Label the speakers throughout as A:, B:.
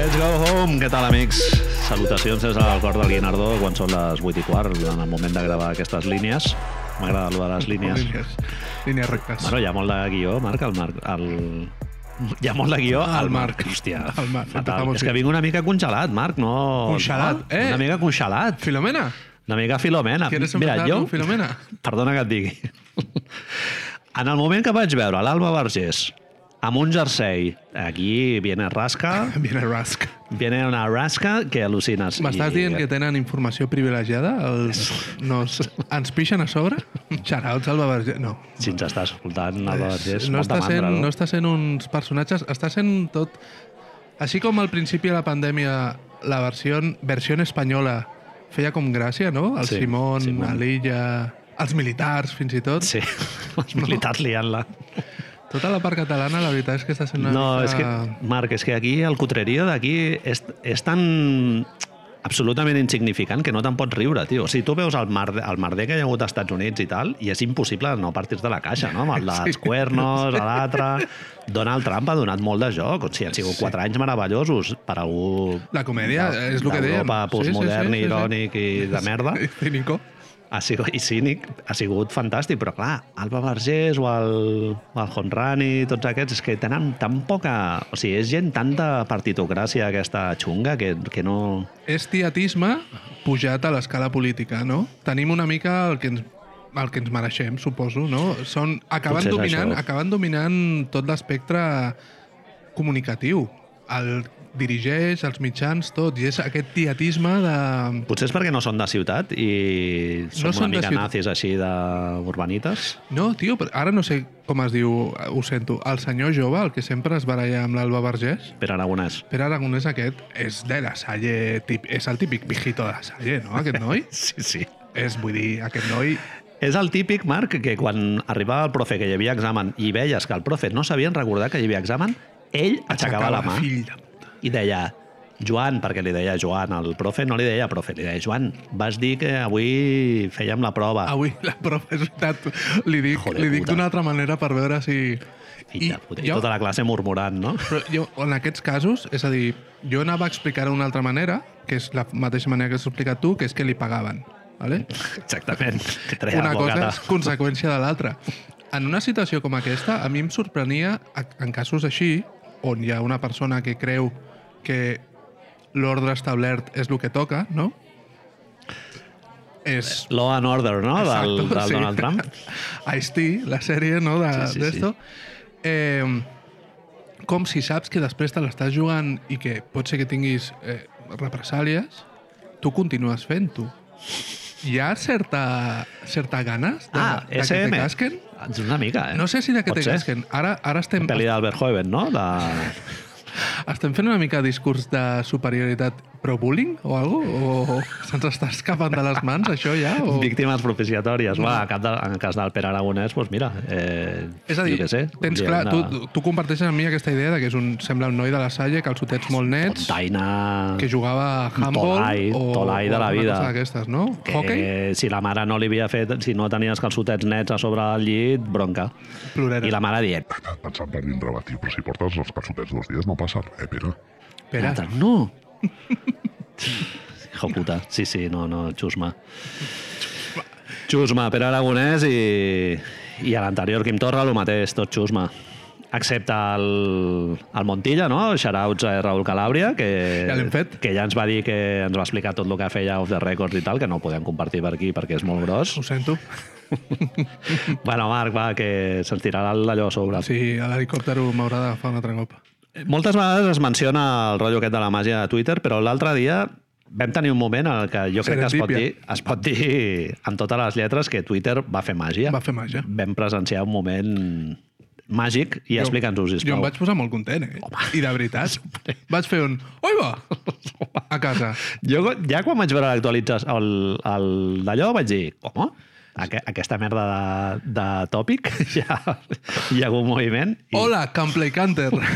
A: Bum, què tal, amics? Salutacions des del cor de Guinardó quan són les 8 i quart, en el moment de gravar aquestes línies. M'agrada allò de les línies.
B: Línies, línies rectes.
A: Bueno, hi ha molt de guió, Marc, el Marc... El... Hi ha molt de guió
B: Ah, el
A: al Marc.
B: Marc.
A: Hòstia,
B: El Marc,
A: fatal.
B: empezamos
A: És que
B: bien.
A: vinc una mica congelat, Marc, no...
B: Congelat?
A: Eh?
B: Eh!
A: Una mica congelat.
B: Filomena,
A: Una mica filomena.
B: ¿quieres
A: Mira,
B: empezar
A: jo...
B: con Filomena?
A: Perdona que et digui. En el moment que vaig veure l'Alba Vergés amb un jersei, aquí viene rasca,
B: Viene Rask.
A: Viene una rasca que al·lucines.
B: M'estàs
A: I-
B: dient que tenen informació privilegiada? Els, nos, ens pixen a sobre? Xarauts, Alba Verge... No.
A: Si ens està escoltant, el Vergés,
B: Eh, no,
A: molta
B: està sent,
A: mandra,
B: no està sent uns personatges, està sent tot... Així com al principi de la pandèmia la versió, versió espanyola feia com gràcia, no? El
A: Sí,
B: sí, Simón,
A: Simón.
B: Simón. l'Illa, els militars, fins i tot.
A: Sí, els militars liant-la.
B: Tota la part catalana, la veritat és que està sent una
A: No,
B: mica...
A: és que, Marc, és que aquí el cutreria d'aquí és, és tan absolutament insignificant que no te'n pots riure, tio. O sigui, tu veus el, mar, el merder que hi ha hagut als Estats Units i tal, i és impossible no partir-te la caixa, no? Amb el dels
B: Sí.
A: cuernos, a l'altre... Donald Trump ha donat molt de joc. O sigui, han sigut quatre anys meravellosos per algú...
B: La comèdia
A: de-
B: és el que dèiem.
A: d'Europa postmodern, sí, sí, sí, sí, irònic i de merda.
B: Sí, Cínico.
A: ha sigut, i cínic, ha sigut fantàstic, però clar, Alba Vergés o el, o el Honrani, tots aquests, és que tenen tan poca... O sigui, és gent tanta partitocràcia aquesta xunga que, que no...
B: És tietisme pujat a l'escala política, no? Tenim una mica el que ens el que ens mereixem, suposo, no? Són, acaben,
A: Potser és
B: dominant,
A: això.
B: acaben dominant tot l'espectre comunicatiu. El dirigeix, els mitjans, tot. I és aquest tietisme de...
A: Potser és perquè no són de ciutat i són
B: No
A: no una
B: són de
A: mica
B: ciutat.
A: nazis així d'urbanites.
B: No, tio, però ara no sé com es diu, ho sento, el senyor jove, el que sempre es baralla amb l'Alba Vergés?
A: Pere Aragonès.
B: Pere Aragonès aquest és de la Salle, tip, és el típic viejito de la Salle, no, aquest noi?
A: Sí, sí.
B: és, vull dir, aquest noi...
A: És el típic, Marc, que quan arribava el profe que hi havia examen i veies que el profe no sabien recordar que hi havia examen, ell aixecava la mà.
B: Fill de... puta.
A: i deia Joan, perquè li deia Joan al profe, no li deia profe, li deia Joan, vas dir que avui fèiem la prova.
B: Avui la profe, és veritat, li dic,
A: Joder,
B: li dic
A: puta.
B: d'una altra manera per veure si...
A: I, I, puta, i
B: jo-
A: tota la classe murmurant, no?
B: Però jo, en aquests casos, és a dir, jo anava a explicar d'una altra manera, que és la mateixa manera que has explicat tu, que és que li pagaven. ¿vale?
A: Exactament. Que treia
B: Una
A: la
B: cosa
A: bocata.
B: és conseqüència de l'altra. En una situació com aquesta, a mi em sorprenia, a- en casos així, on hi ha una persona que creu que l'ordre establert és el que toca, no? És...
A: Law and Order, no? Ah, Del,
B: Exacto,
A: del
B: sí.
A: Donald Trump.
B: Ice-T, la sèrie, no?, de-
A: Sí, sí,
B: d'esto. Eh, com si saps que després te l'estàs jugant i que pot ser que tinguis eh, represàlies, tu continues fent-ho. Hi ha certa, certa ganes de,
A: Ah,
B: de que
A: SM.
B: te casquen?
A: És una mica, eh?
B: No sé si de que
A: Pot
B: te
A: ser.
B: casquen. Ara, ara estem,
A: Pel·li d'Albert Hoeven, no? De...
B: estem fent una mica discurs de superioritat pro bullying o algo? O se'ns està escapant de les mans, això ja? O...
A: Víctimes propiciatòries. Va, cap de, en cas del Pere Aragonès, doncs mira... Eh,
B: És a dir,
A: jo què sé,
B: tens
A: un dia
B: clar,
A: de-
B: tu, tu- tu comparteixes amb mi aquesta idea de que és un, sembla un noi de la Salle, calçotets molt nets,
A: Pontaina...
B: que jugava a handball
A: Tolai,
B: o,
A: Tolai de
B: o
A: la
B: alguna
A: vida.
B: cosa d'aquestes, no?
A: que
B: Hockey,
A: si la mare no li havia fet, si no tenies calçotets nets a sobre del llit, bronca.
B: plorera.
A: I la mare dient,
C: ens sap de riure, va, tio, però si portes els calçotets dos dies no passa res, Pere.
B: Espera,
A: "Nata, no! Hijo puta, sí, sí, no, no, xusma. Xusma, Pere Aragonès i, i a l'anterior Quim Torra el mateix, tot xusma. Excepte el, el Montilla, no? Xarauts a Raül Calàbria, que,
B: Ja l'hem fet.
A: que ja ens va dir que ens va explicar tot el que feia off the records i tal, que no ho podem compartir per aquí perquè és molt gros.
B: ho sento.
A: Bueno, Marc, va, que se'ns tirarà d'allò a sobre. Sí.
B: Sí, a l'helicòptero m'haurà d'agafar un altre cop.
A: Moltes vegades es menciona el rotllo aquest de la màgia de Twitter, però l'altre dia vam tenir un moment en el que jo crec que es pot, dir,
B: Serendípia.
A: es pot dir amb totes les lletres que Twitter va fer màgia.
B: Va fer màgia.
A: Vam presenciar un moment màgic i
B: Jo-
A: explica'ns-ho,
B: Jo em
A: sisplau.
B: vaig posar molt content, eh? I de veritat, vaig fer un... Oi, va! A casa.
A: Jo, ja quan vaig veure l'actualització el, el d'allò vaig dir, com? Aqu aquesta merda de, de tòpic ja hi ha hagut moviment.
B: Hola, Campley Canter.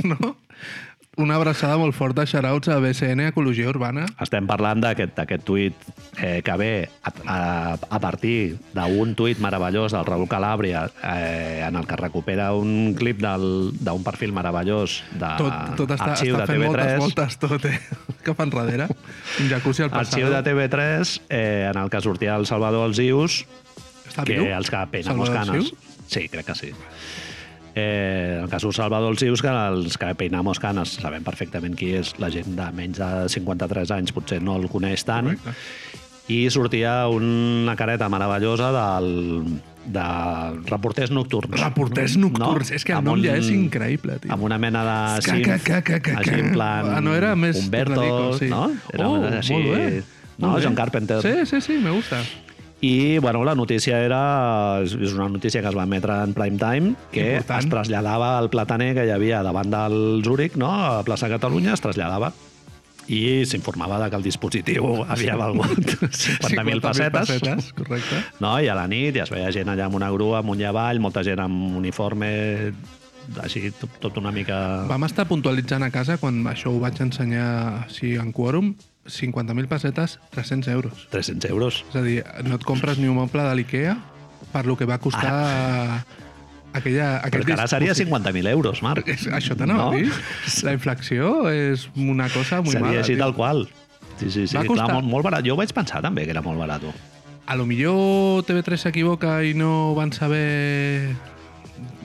B: No? una abraçada molt forta, xarauts a BCN Ecologia Urbana.
A: Estem parlant d'aquest d'aquest tuit eh, que ve a, a, a partir d'un tuit meravellós del Raül Calàbria eh, en el que recupera un clip del- d'un perfil meravellós de
B: Tot, tot està,
A: arxiu
B: està
A: de
B: fent moltes
A: TV3.
B: voltes, tot, eh? Cap enrere. Un jacuzzi al
A: Arxiu
B: passador.
A: de TV3 eh, en el que sortia el Salvador Alzius
B: Està
A: que
B: viu?
A: els que pena
B: Salvador
A: moscanes.
B: Alzius?
A: Sí, crec que sí. Eh, en el cas d'un Salvador Alzius, que els que peina moscanes, sabem perfectament qui és, la gent de menys de 53 anys potser no el coneix tant,
B: Correcte.
A: i sortia una careta meravellosa del, de reporters nocturns.
B: Reporters nocturns. És que el
A: Amb
B: nom ja és increïble, tio.
A: Amb una mena de
B: Ca,
A: sim,
B: ca, ca, ca, ca,
A: així en
B: ca.
A: plan
B: Ah, no era més
A: Humberto,
B: radical, sí.
A: no? Era
B: Oh,
A: una- així,
B: molt bé.
A: No,
B: Molt bé.
A: John Carpenter.
B: Sí, sí, sí, me gusta.
A: I, bueno, la notícia era... És és una notícia que es va emetre en prime time, que
B: Important.
A: es traslladava al plataner que hi havia davant del Zúric, no?, a la plaça Catalunya, es traslladava i s'informava de que el dispositiu havia valgut 50.000 pessetes.
B: Correcte.
A: No? I a la nit ja es veia gent allà amb una grua, amunt i avall, molta gent amb uniforme, així tot, tot una mica...
B: Vam estar puntualitzant a casa quan això ho vaig ensenyar així en quòrum, 50.000 pessetes, 300 euros.
A: 300 euros.
B: És a dir, no et compres ni un moble de l'IKEA per lo que va costar aquella...
A: Ah. Però
B: Aquest
A: que ara seria 50.000 euros, Marc.
B: És- Això t'anava no? a dir. La inflació és una cosa molt
A: Seria
B: mala.
A: així
B: tio.
A: tal qual. Sí, sí, sí.
B: Va
A: Clar,
B: costar.
A: molt, molt barat. Jo ho vaig pensar també que era molt barat.
B: A lo millor TV3 s'equivoca i no van saber...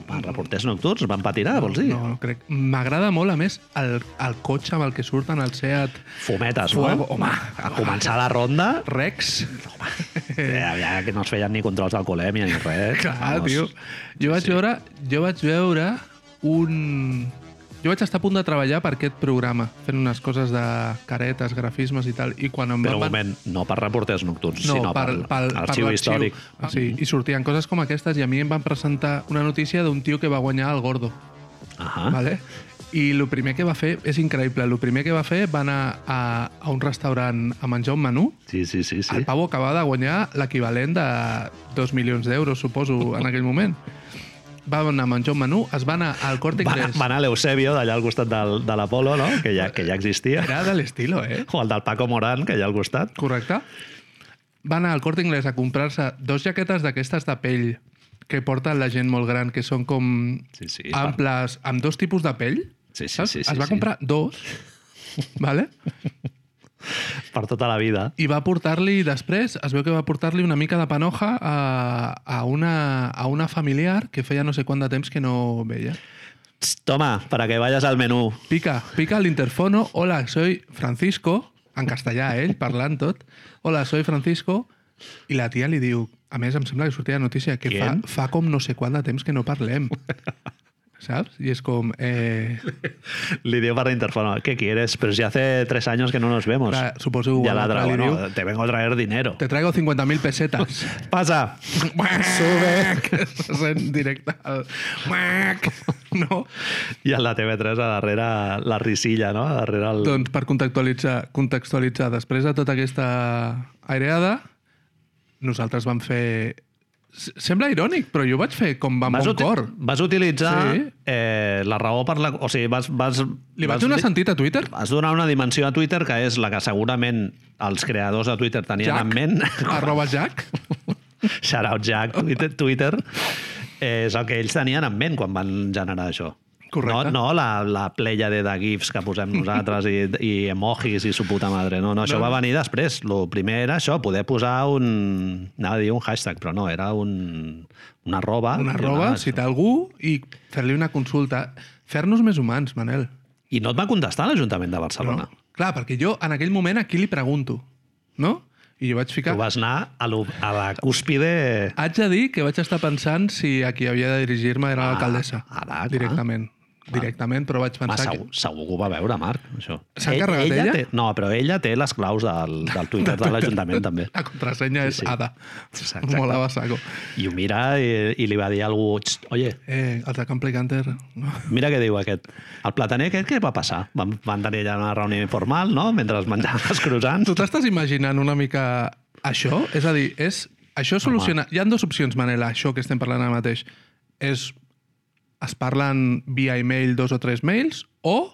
A: Va, reporters nocturns van patinar, Ah, vols dir?
B: No, no crec. M'agrada molt, a més, el, el cotxe amb el que surten al Seat
A: Fumetes,
B: Fuego,
A: no?
B: home.
A: A començar la ronda,
B: Rex.
A: eh, ja que no es feien ni controls d'alcoholèmia ni res.
B: Clar,
A: Vamos.
B: tio. Jo vaig,
A: Sí.
B: veure, jo vaig veure un... Jo vaig estar a punt de treballar per aquest programa, fent unes coses de caretes, grafismes i tal, i quan em
A: Però un
B: van...
A: moment, no per reporters nocturns,
B: no,
A: sinó per,
B: per, per,
A: arxiu històric.
B: Ah, sí, I sortien coses com aquestes i a mi em van presentar una notícia d'un tio que va guanyar el Gordo.
A: Ahà.
B: Vale? I el primer que va fer, és increïble, el primer que va fer va anar a, a un restaurant a menjar un menú.
A: Sí, sí, sí.
B: Sí. El
A: sí.
B: Pau acabava de guanyar l'equivalent de 2 milions d'euros, suposo, en aquell moment. Va anar a menjar un menú, es va anar al Corte
A: Va, anar-
B: Inglés.
A: va anar l'Eusebio, d'allà al costat del, de l'Apolo, no? que, ja, que ja existia.
B: Era de l'estilo, eh?
A: O el del Paco Morán, que hi ha al costat.
B: Correcte. Va anar al Corte Inglés a comprar-se dos jaquetes d'aquestes de pell que porten la gent molt gran, que són com
A: Sí, sí,
B: amples, amb dos tipus de pell.
A: Sí, sí,
B: saps?
A: sí, sí,
B: es va
A: sí.
B: comprar dos, vale?
A: Per tota la vida.
B: i va portar-li després, es veu que va portar-li una mica de panoja a, a, una, a una familiar que feia no sé quant de temps que no veia.
A: Tss, Toma, para que vayas al menú.
B: Pica, pica al interfono. Hola, soy Francisco. En castellà, eh, ell, parlant tot. Hola, soy Francisco. I la tia li diu... A més, em sembla que sortia la notícia que fa,
A: Quién?
B: fa com no sé quant de temps que no parlem. Saps? I és com... Eh,
A: Le dio para interfono. ¿Qué quieres? Pero si hace tres años que no nos vemos.
B: Claro, supongo que
A: Ya
B: igual
A: la
B: otra
A: trago,
B: le
A: ¿no?
B: dio.
A: Te vengo a traer dinero.
B: te traigo 50.000 pesetas.
A: Pasa.
B: Sube. Que se sent directe al... Mac. No?
A: I el de TV3 a darrere la risilla, no? A darrere el...
B: Doncs per contextualitzar, contextualitzar després de tota aquesta aireada, nosaltres vam fer... S- Sembla irònic, però jo ho vaig fer com amb bon
A: uti-
B: cor.
A: vas utilitzar
B: Sí.
A: eh, la raó per la... O sigui, vas... vas
B: Li
A: vas
B: vaig donar
A: di-
B: sentit a Twitter?
A: Vas donar una dimensió a Twitter que és la que segurament els creadors de Twitter tenien
B: Jack,
A: en ment.
B: arroba Jack.
A: Shout out Jack, Twitter, Twitter eh, és el que ells tenien en ment quan van generar això.
B: Correcte.
A: No, no la, la playa de, de gifs que posem nosaltres i, i emojis i su puta madre. No, no, això
B: No,
A: no, va
B: no.
A: venir després. El primer era això, poder posar un... Anava a dir un hashtag, però no, era un, una arroba.
B: Una arroba,
A: I,
B: citar algú i fer-li una consulta. Fer-nos més humans, Manel.
A: I no et va contestar l'Ajuntament de Barcelona. No.
B: Clar, perquè jo en aquell moment aquí li pregunto, no? I jo vaig
A: Tu
B: ficar...
A: vas anar a, lo, a la cúspide...
B: Haig de dir que vaig estar pensant si a qui havia de dirigir-me era
A: Ah,
B: l'alcaldessa.
A: ara, clar.
B: Directament. Directament, però vaig
A: Home,
B: pensar... que...
A: segur, segur que ho va veure, Marc, això.
B: S'ha
A: Ell-
B: carregat ella?
A: Té, no, però ella té les claus del, del Twitter de l'Ajuntament, també.
B: La contrasenya
A: Sí,
B: és
A: sí.
B: Ada.
A: Exacte.
B: Molava saco.
A: I ho mira i, i li va dir a algú, "Xt, oye,
B: Eh, els de Camp Planter...
A: mira què diu aquest. El plataner aquest què va passar? Van, van tenir allà una reunió informal, no?, mentre es menjaven els croissants.
B: Tu t'estàs imaginant una mica això? És a dir, és... Això soluciona... Hi han dues opcions, Manela, això que estem parlant ara mateix. És... Es parlen via e-mail dos o tres mails o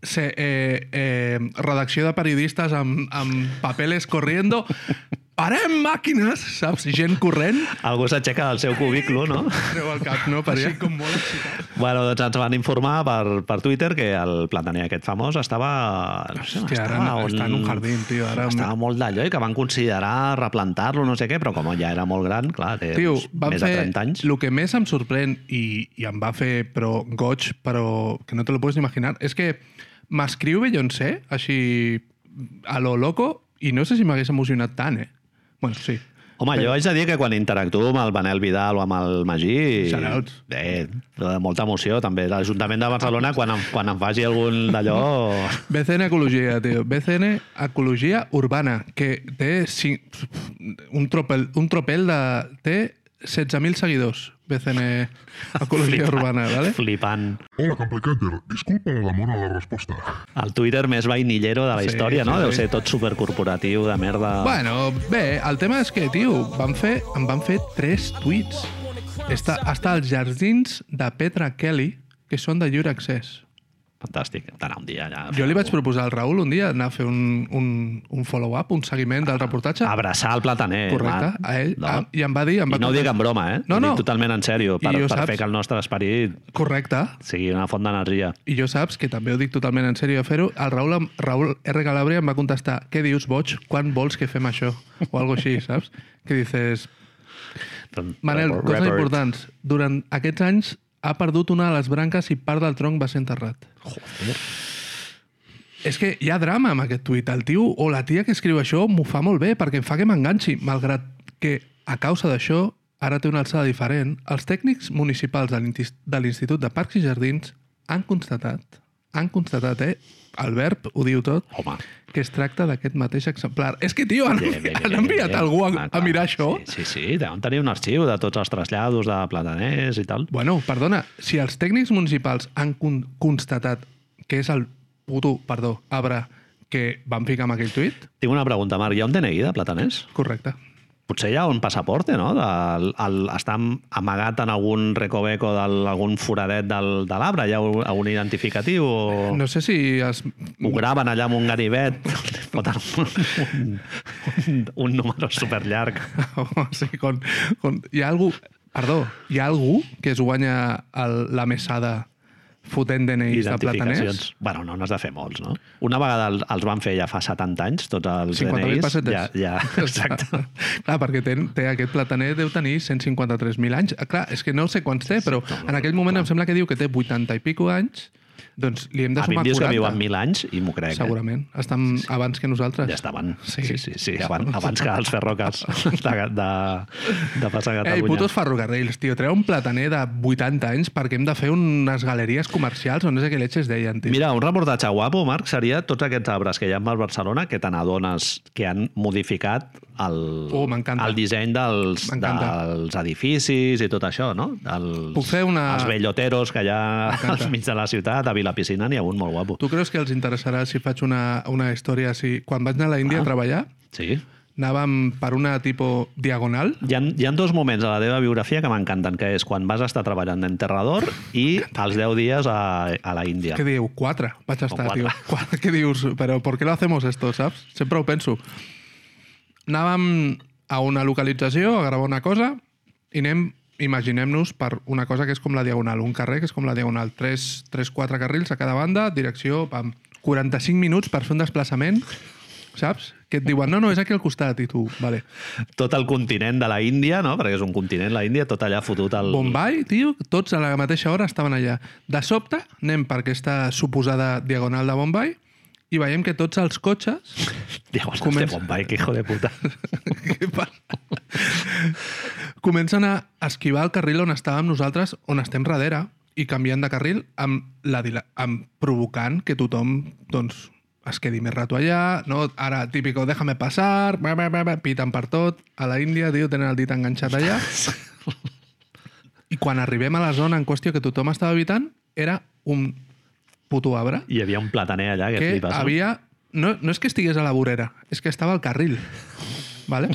B: se, eh, eh, redacció de periodistes amb, amb papeles corriendo, parem màquines, saps? Gent corrent,
A: Algú s'aixeca del seu cubicle, no?
B: treu el cap, no? Per Així com molt excitat.
A: Bueno, doncs ens van informar per, per Twitter que el plataner aquest famós estava... No sé, on
B: Hòstia, ara
A: estava,
B: no- està en un jardín, tio, ara-
A: Estava molt d'allò i que van considerar replantar-lo, no sé què, però com ja era molt gran, clar, té
B: Tio,
A: uns-
B: van
A: més
B: fer...
A: de 30 anys.
B: El que més em sorprèn i, i em va fer, però, goig, però que no te lo puedes ni imaginar, és que m'escriu Beyoncé, així, a lo loco, i no sé si m'hagués emocionat tant, eh? Bueno, sí.
A: Home, jo haig de dir que quan interactuo amb el Manel Vidal o amb el Magí...
B: Shoutouts.
A: Eh, de molta emoció, també. L'Ajuntament de Barcelona, quan em, quan em faci algun d'allò...
B: BCN Ecologia, tio. BCN Ecologia Urbana, que té cinc, un, tropel, un tropel de... té 16.000 seguidors, BCN Ecologia
A: flipant,
B: Urbana, ¿vale?
A: Flipant.
C: Hola, Camplicater. Disculpa la demora a la resposta.
A: El Twitter més vainillero de la
B: Sí,
A: història, no?
B: sí,
A: Deu
B: sí.
A: ser tot supercorporatiu, de merda...
B: Bueno, bé, el tema és que, tio, van fer, em van fer tres tuits. Està, està als jardins de Petra Kelly, que són de lliure accés.
A: Fantàstic. D'anar un dia allà... a
B: Jo li
A: fer
B: vaig proposar al Raül un dia anar a fer un, un, un follow-up, un seguiment del reportatge.
A: abraçar el plataner.
B: Correcte,
A: Marc.
B: a ell.
A: Ah, No?
B: a- I em va dir... Em va
A: I no ho dic
B: contestar-
A: en broma, eh?
B: No,
A: Ho dic
B: no.
A: totalment en sèrio, per,
B: I ho
A: per
B: saps.
A: fer que el nostre esperit
B: Correcte.
A: sigui una font d'energia.
B: I jo saps, que també ho dic totalment en sèrio de fer-ho, el Raül, em- Raül R. Calabria em va contestar què dius, boig, quan vols que fem això? O algo així, saps? Que dices, Manel,
A: Robert-
B: coses
A: Robert.
B: importants. Durant aquests anys ha perdut una de les branques i part del tronc va ser enterrat. És que hi ha drama amb aquest tuit. El tio o la tia que escriu això m'ho fa molt bé perquè em fa que m'enganxi, malgrat que a causa d'això ara té una alçada diferent. Els tècnics municipals de l'Intis- de l'Institut de Parcs i Jardins han constatat, han constatat, eh? El verb ho diu tot,
A: Home.
B: que es tracta d'aquest mateix exemplar. És que, tio, han,
A: Bé, bé, bé,
B: enviat- han
A: bé,
B: enviat
A: bé.
B: algú a,
A: Ah,
B: a
A: clar.
B: mirar això.
A: Sí, sí, sí, deuen tenir un arxiu de tots els trasllados de plataners i tal.
B: Bueno, perdona, si els tècnics municipals han con constatat que és el puto, perdó, arbre que van ficar amb aquell tuit,
A: Tinc una pregunta, Marc. Hi ha un DNI de plataners?
B: correcte.
A: Potser hi ha un passaporte, no? De, el, el, està am- amagat en algun recoveco d'algun foradet del, de l'arbre? Hi ha un- algun identificatiu? O...
B: No sé si es...
A: Ho graven allà amb un ganivet, foten un, un, un número superllarg.
B: o sigui, Oh, con, con... Hi ha algú... Perdó, hi ha algú que es guanya el, la mesada fotent DNIs de plataners?
A: identificacions. Bueno, no n'has de fer molts, no? Una vegada el- els van fer ja fa 70 anys, tots els
B: 50.000
A: DNIs.
B: pessetes.
A: Ja, ja, exacte.
B: Clar, perquè té, té aquest plataner deu tenir 153.000 anys. Ah, Clar, és que no sé quants té, però en aquell moment em sembla que diu que té 80 i pico anys, doncs li hem de
A: A mi em
B: sumar
A: dius
B: 40.
A: que viuen mil anys i m'ho crec. Eh?
B: Segurament. Estan sí, sí. abans que nosaltres.
A: Ja estaven.
B: Sí.
A: Sí, sí, sí, sí abans, abans que els ferroques de, de, de passar a Catalunya.
B: Ei, putos ferrocarrils, tio, treu un plataner de 80 anys perquè hem de fer unes galeries comercials o no sé què leches deien, tio.
A: Mira, un reportatge guapo, Marc, seria tots aquests arbres que hi ha al Barcelona que te n'adones que han modificat el,
B: Oh, m'encanta.
A: el disseny dels,
B: M'encanta.
A: dels edificis i tot això, no? Els,
B: Puc fer una-
A: Els belloteros que hi ha
B: M'encanta.
A: al mig de la ciutat, a Vilapiscina n'hi ha un molt guapo.
B: Tu creus que els interessarà si faig una, una història així? Quan vaig anar a l'Índia
A: Ah.
B: a treballar,
A: Sí.
B: anàvem per una tipo diagonal,
A: Hi ha, hi ha dos moments a la teva biografia que m'encanten, que és quan vas estar treballant d'enterrador i els 10 dies a, a la Índia.
B: que diu, quatre, vaig estar,
A: quatre.
B: tio. Quatre, què dius? Però per què lo hacemos esto, saps? Sempre ho penso. Anàvem a una localització a gravar una cosa i anem, imaginem-nos, per una cosa que és com la diagonal, un carrer que és com la diagonal, 3-4 carrils a cada banda, direcció, pam, 45 minuts per fer un desplaçament, saps? Que et diuen, no, no, és aquí al costat, i tu, vale.
A: Tot el continent de la Índia, no? perquè és un continent, la Índia, tot allà fotut al...
B: Bombay, tio, tots a la mateixa hora estaven allà. De sobte, anem per aquesta suposada diagonal de Bombay i veiem que tots els cotxes
A: Diagonal
B: Comença-
A: de Bombay, que hijo de puta.
B: Què passa? Comencen a esquivar el carril on estàvem nosaltres, on estem darrere, i canviant de carril, amb, la, dila- amb provocant que tothom doncs, es quedi més rato allà, no? ara típico, déjame passar, bla, bla, bla, bla, piten per tot, a la Índia, tio, tenen el dit enganxat allà. I quan arribem a la zona en qüestió que tothom estava evitant, era un puto arbre
A: Hi havia un plataner allà que,
B: que
A: flipes. no?
B: havia... No, no és que estigués a la vorera, és que estava al carril. Vale?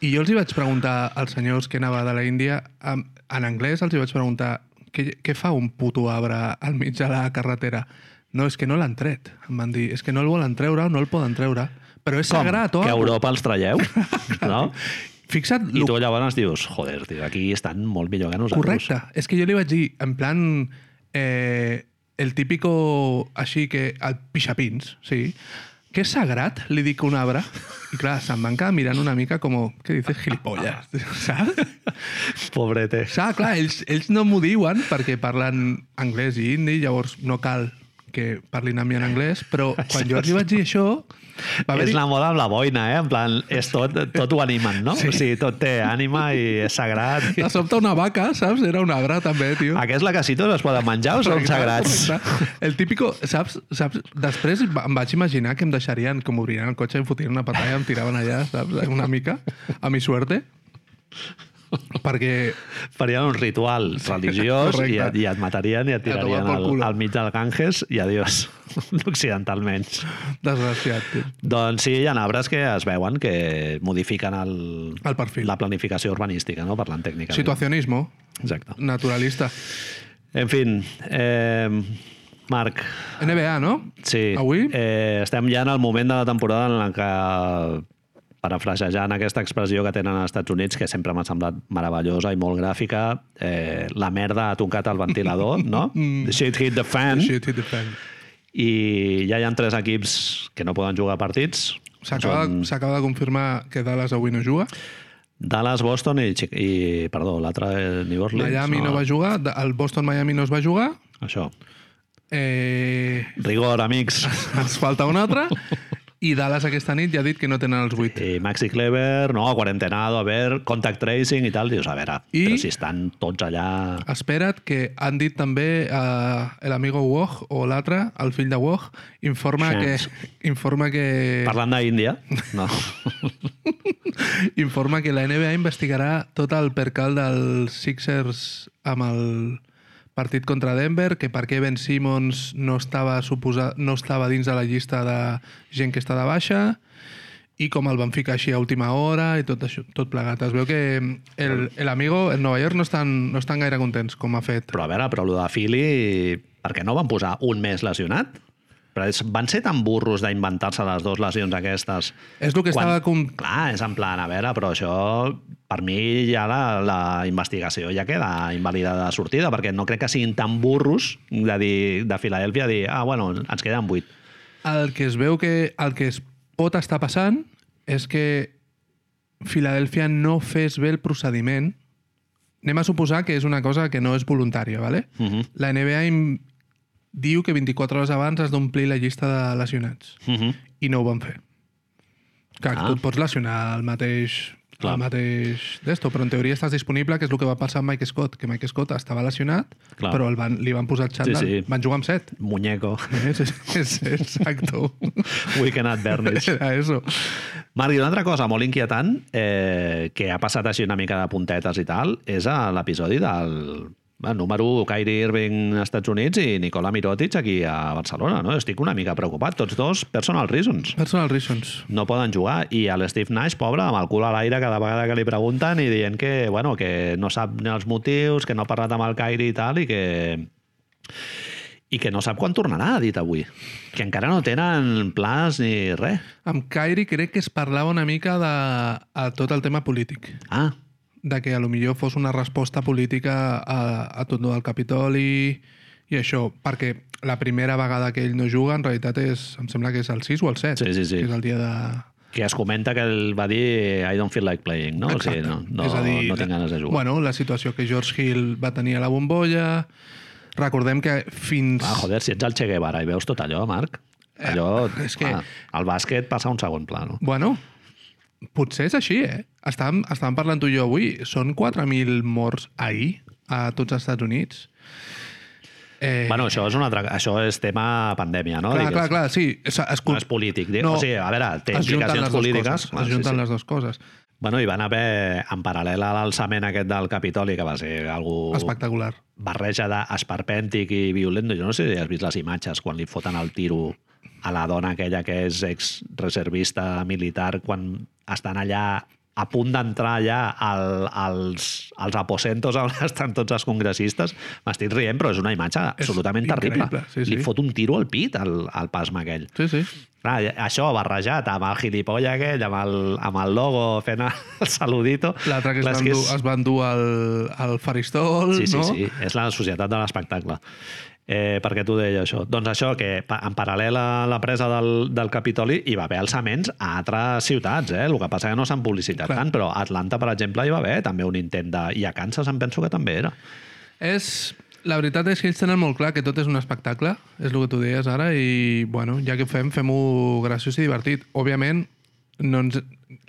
B: I jo els hi vaig preguntar als senyors que anava de la Índia, em- en anglès els hi vaig preguntar què, què fa un puto arbre al mig de la carretera? No, és que no l'han tret. Em van dir, és que no el volen treure, no el poden treure. Però és sagrat,
A: Que a
B: oh?
A: Europa els traieu, no?
B: Fixa't,
A: I
B: lo-
A: tu llavors dius, joder, tio, aquí estan molt millor que nosaltres.
B: correcte. És que jo li vaig dir, en plan, eh, el típico així que... El pixapins, sí. Que és sagrat, li dic a un arbre. I clar, se'n van quedar mirant una mica com... Què dices, gilipollas? Saps?
A: Pobrete.
B: Clar, clar, ells, ells no m'ho diuen perquè parlen anglès i hindi, llavors no cal que parlin amb mi en anglès, però quan jo els hi vaig dir això... Va
A: És
B: haver-hi-
A: la moda amb la boina, eh? En plan, és tot, tot ho animen, no? Sí. O sigui, tot té ànima i és sagrat.
B: De sobte una vaca, saps? Era una gra també, tio.
A: Aquests lacacitos es poden menjar o són
B: Correcte,
A: sagrats?
B: correcte. El típico, saps? saps? Després va- em vaig imaginar que em deixarien, com obrien el cotxe, em fotien una patalla, em tiraven allà, saps? Una mica, a mi suerte. Perquè
A: Farien un ritual religiós i,
B: correcte.
A: et- i et matarien i et
B: I a tomar
A: tirarien
B: pel
A: al,
B: culo.
A: al mig del Ganges i adiós, occidentalment.
B: desgraciat, tio.
A: Doncs sí, hi ha arbres que es veuen que modifiquen el,
B: El perfil.
A: la planificació urbanística, no? parlant tècnicament.
B: Situacionismo,
A: Exacte.
B: naturalista.
A: En fi, eh, Marc,
B: NBA, no?
A: sí,
B: Avui?
A: Eh, estem ja en el moment de la temporada en la que parafrasejant aquesta expressió que tenen als Estats Units, que sempre m'ha semblat meravellosa i molt gràfica, eh, la merda ha tocat el ventilador, no?
B: Mm.
A: The shit hit the fan.
B: Shit hit the fan.
A: I ja hi ha tres equips que no poden jugar partits.
B: S'acaba
A: Són
B: s'acaba de confirmar que Dallas avui no juga.
A: Dallas, Boston i, Chi- i perdó, l'altre eh, New Orleans.
B: Miami no va jugar, da- el Boston-Miami no es va jugar.
A: Això.
B: Eh,
A: Rigor, amics.
B: ens falta un altre. I Dallas aquesta nit ja ha dit que no tenen els 8.
A: I Eh, Maxi Clever, no, quarentenado, a veure, contact tracing i tal. Dius, a veure,
B: I-
A: I... però si estan tots allà...
B: Espera't, que han dit també eh, l'amigo Woj, o l'altre, el fill de Woj, informa que,
A: Shams.
B: informa que,
A: Parlant d'Índia, no.
B: informa que la NBA investigarà tot el percal dels Sixers amb el partit contra Denver, que per què Ben Simmons no estava, suposa, no estava dins de la llista de gent que està de baixa, i com el van ficar així a última hora i tot, això, tot plegat. Es veu que el, el amigo, el Nova York, no estan, no estan gaire contents com ha fet.
A: Però a veure, però allò de Philly, per què no van posar un més lesionat? Però és, van ser tan burros d'inventar-se les dues lesions aquestes.
B: És el que
A: Quan-
B: estava com...
A: Clar, és en plan, a veure, però això per mi ja la, la investigació ja queda invalidada de sortida, perquè no crec que siguin tan burros de dir de Filadèlfia dir, ah, bueno, ens queden vuit.
B: El que es veu que el que es pot estar passant és que Filadèlfia no fes bé el procediment. Anem a suposar que és una cosa que no és voluntària, ¿vale?
A: Uh -huh.
B: La NBA im- diu que 24 hores abans has d'omplir la llista de lesionats
A: Uh -huh.
B: i no ho van fer. Clar, ah.
A: Ah.
B: tu et pots lesionar el mateix
A: Clar.
B: el mateix d'esto, però en teoria estàs disponible, que és el que va passar amb Mike Scott, que Mike Scott estava lesionat,
A: Clar.
B: Clar. però el van, li van posar el xandall.
A: sí.
B: Van jugar amb set.
A: Muñeco.
B: És, és, és, exacto.
A: Weekend at Bernie's.
B: Era eso.
A: Marc, i una altra cosa molt inquietant eh, que ha passat així una mica de puntetes i tal és a l'episodi del el número 1, Kyrie Irving als Estats Units i Nicola Mirotic aquí a Barcelona. No? Estic una mica preocupat. Tots dos personal reasons.
B: Personal reasons.
A: no poden jugar i el Steve Nash, pobre, amb el cul a l'aire cada vegada que li pregunten i dient que, bueno, que no sap ni els motius, que no ha parlat amb el Kyrie i tal i que i que no sap quan tornarà, ha dit avui. Que encara no tenen plans ni res.
B: Amb Kyrie crec que es parlava una mica de a tot el tema polític.
A: Ah,
B: De que a lo millor fos una resposta política a, a tot el Capitoli i això, perquè la primera vegada que ell no juga en realitat és, em sembla que és el 6 o el 7,
A: Sí, sí, sí.
B: que és el dia de...
A: que es comenta que el va dir I don't feel like playing, no? O sigui, no, no,
B: És a dir,
A: no tinc ganes de jugar.
B: Bueno, la situació que George Hill va tenir a la bombolla... Recordem que fins...
A: Ah, joder, si ets el Che Guevara i veus tot allò, Marc, allò...
B: Eh, és que-
A: clar, el bàsquet passa a un segon pla, no?
B: Bueno, potser és així, eh? Estàvem, estàvem parlant tu i jo avui. Són 4.000 morts ahir a tots els Estats Units. Eh,
A: Bueno, això és, un altre, això és tema pandèmia, no?
B: clar,
A: Digues.
B: clar, clar, sí. És, es,
A: No és polític. No, o sigui, a veure, té
B: es junten les
A: implicacions
B: dues
A: polítiques.
B: Coses, es junten sí, sí. les dues coses.
A: Bueno, i van haver, en paral·lel a l'alçament aquest del Capitoli, que va ser algú
B: Espectacular.
A: barreja d'esperpèntic i violent, jo no sé si has vist les imatges quan li foten el tiro a la dona aquella que és ex-reservista militar, quan estan allà a punt d'entrar ja al, als, als aposentos on estan tots els congressistes, m'estic rient, però és una imatge
B: És
A: absolutament terrible.
B: increïble, sí,
A: Li
B: sí.
A: fot un tiro al pit, al, al pasma aquell.
B: Sí, sí.
A: Clar, això barrejat amb el gilipolla aquell, amb el, amb el logo fent el saludito...
B: L'altre que, es
A: clar,
B: van
A: és
B: dur- es van dur al, al faristol,
A: Sí, sí,
B: no?
A: sí, és la societat de l'espectacle. Eh, per què t'ho deia, això? Doncs això, que pa- en paral·lel a la presa del, del Capitoli hi va haver alçaments a altres ciutats, eh? El que passa que no s'han publicitat
B: Clar.
A: Clar. tant, però a Atlanta, per exemple, hi va haver també un intent de... I a Kansas em penso que també era.
B: És... La veritat és que ells tenen molt clar que tot és un espectacle, és el que tu deies ara, i, bueno, ja que ho fem, fem-ho graciós i divertit. Òbviament, no ens...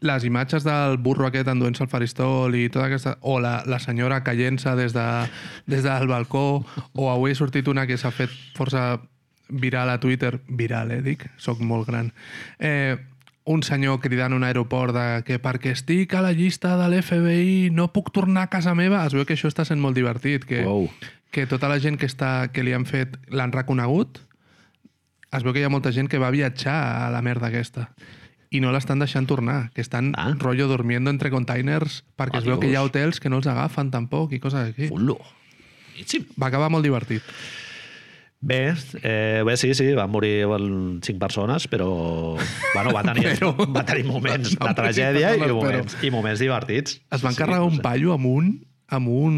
B: les imatges del burro aquest enduent-se al faristol i tota aquesta... O la, la senyora caient-se des, de, des del balcó, o avui ha sortit una que s'ha fet força viral a Twitter. Viral, eh, dic? Soc molt gran. Eh, un senyor cridant a un aeroport de que perquè estic a la llista de l'FBI no puc tornar a casa meva. Es veu que això està sent molt divertit, que,
A: Uau.
B: que tota la gent que, està, que li han fet l'han reconegut. Es veu que hi ha molta gent que va viatjar a la merda aquesta i no l'estan deixant tornar, que estan ah.
A: Ah.
B: rotllo durmiendo entre containers perquè es veu que hi ha
A: Adiós.
B: hotels que no els agafen tampoc i coses així.
A: Fullo. Boníssim.
B: Va acabar molt divertit.
A: Bé, eh, bé, sí, sí, van morir bueno, cinc persones, però bueno, va tenir,
B: Però-
A: va tenir moments
B: Van
A: de
B: morir
A: tragèdia i
B: persones,
A: moments, i moments divertits.
B: Es van
A: Sí,
B: carregar
A: no
B: un
A: sé.
B: paio amb un, amb un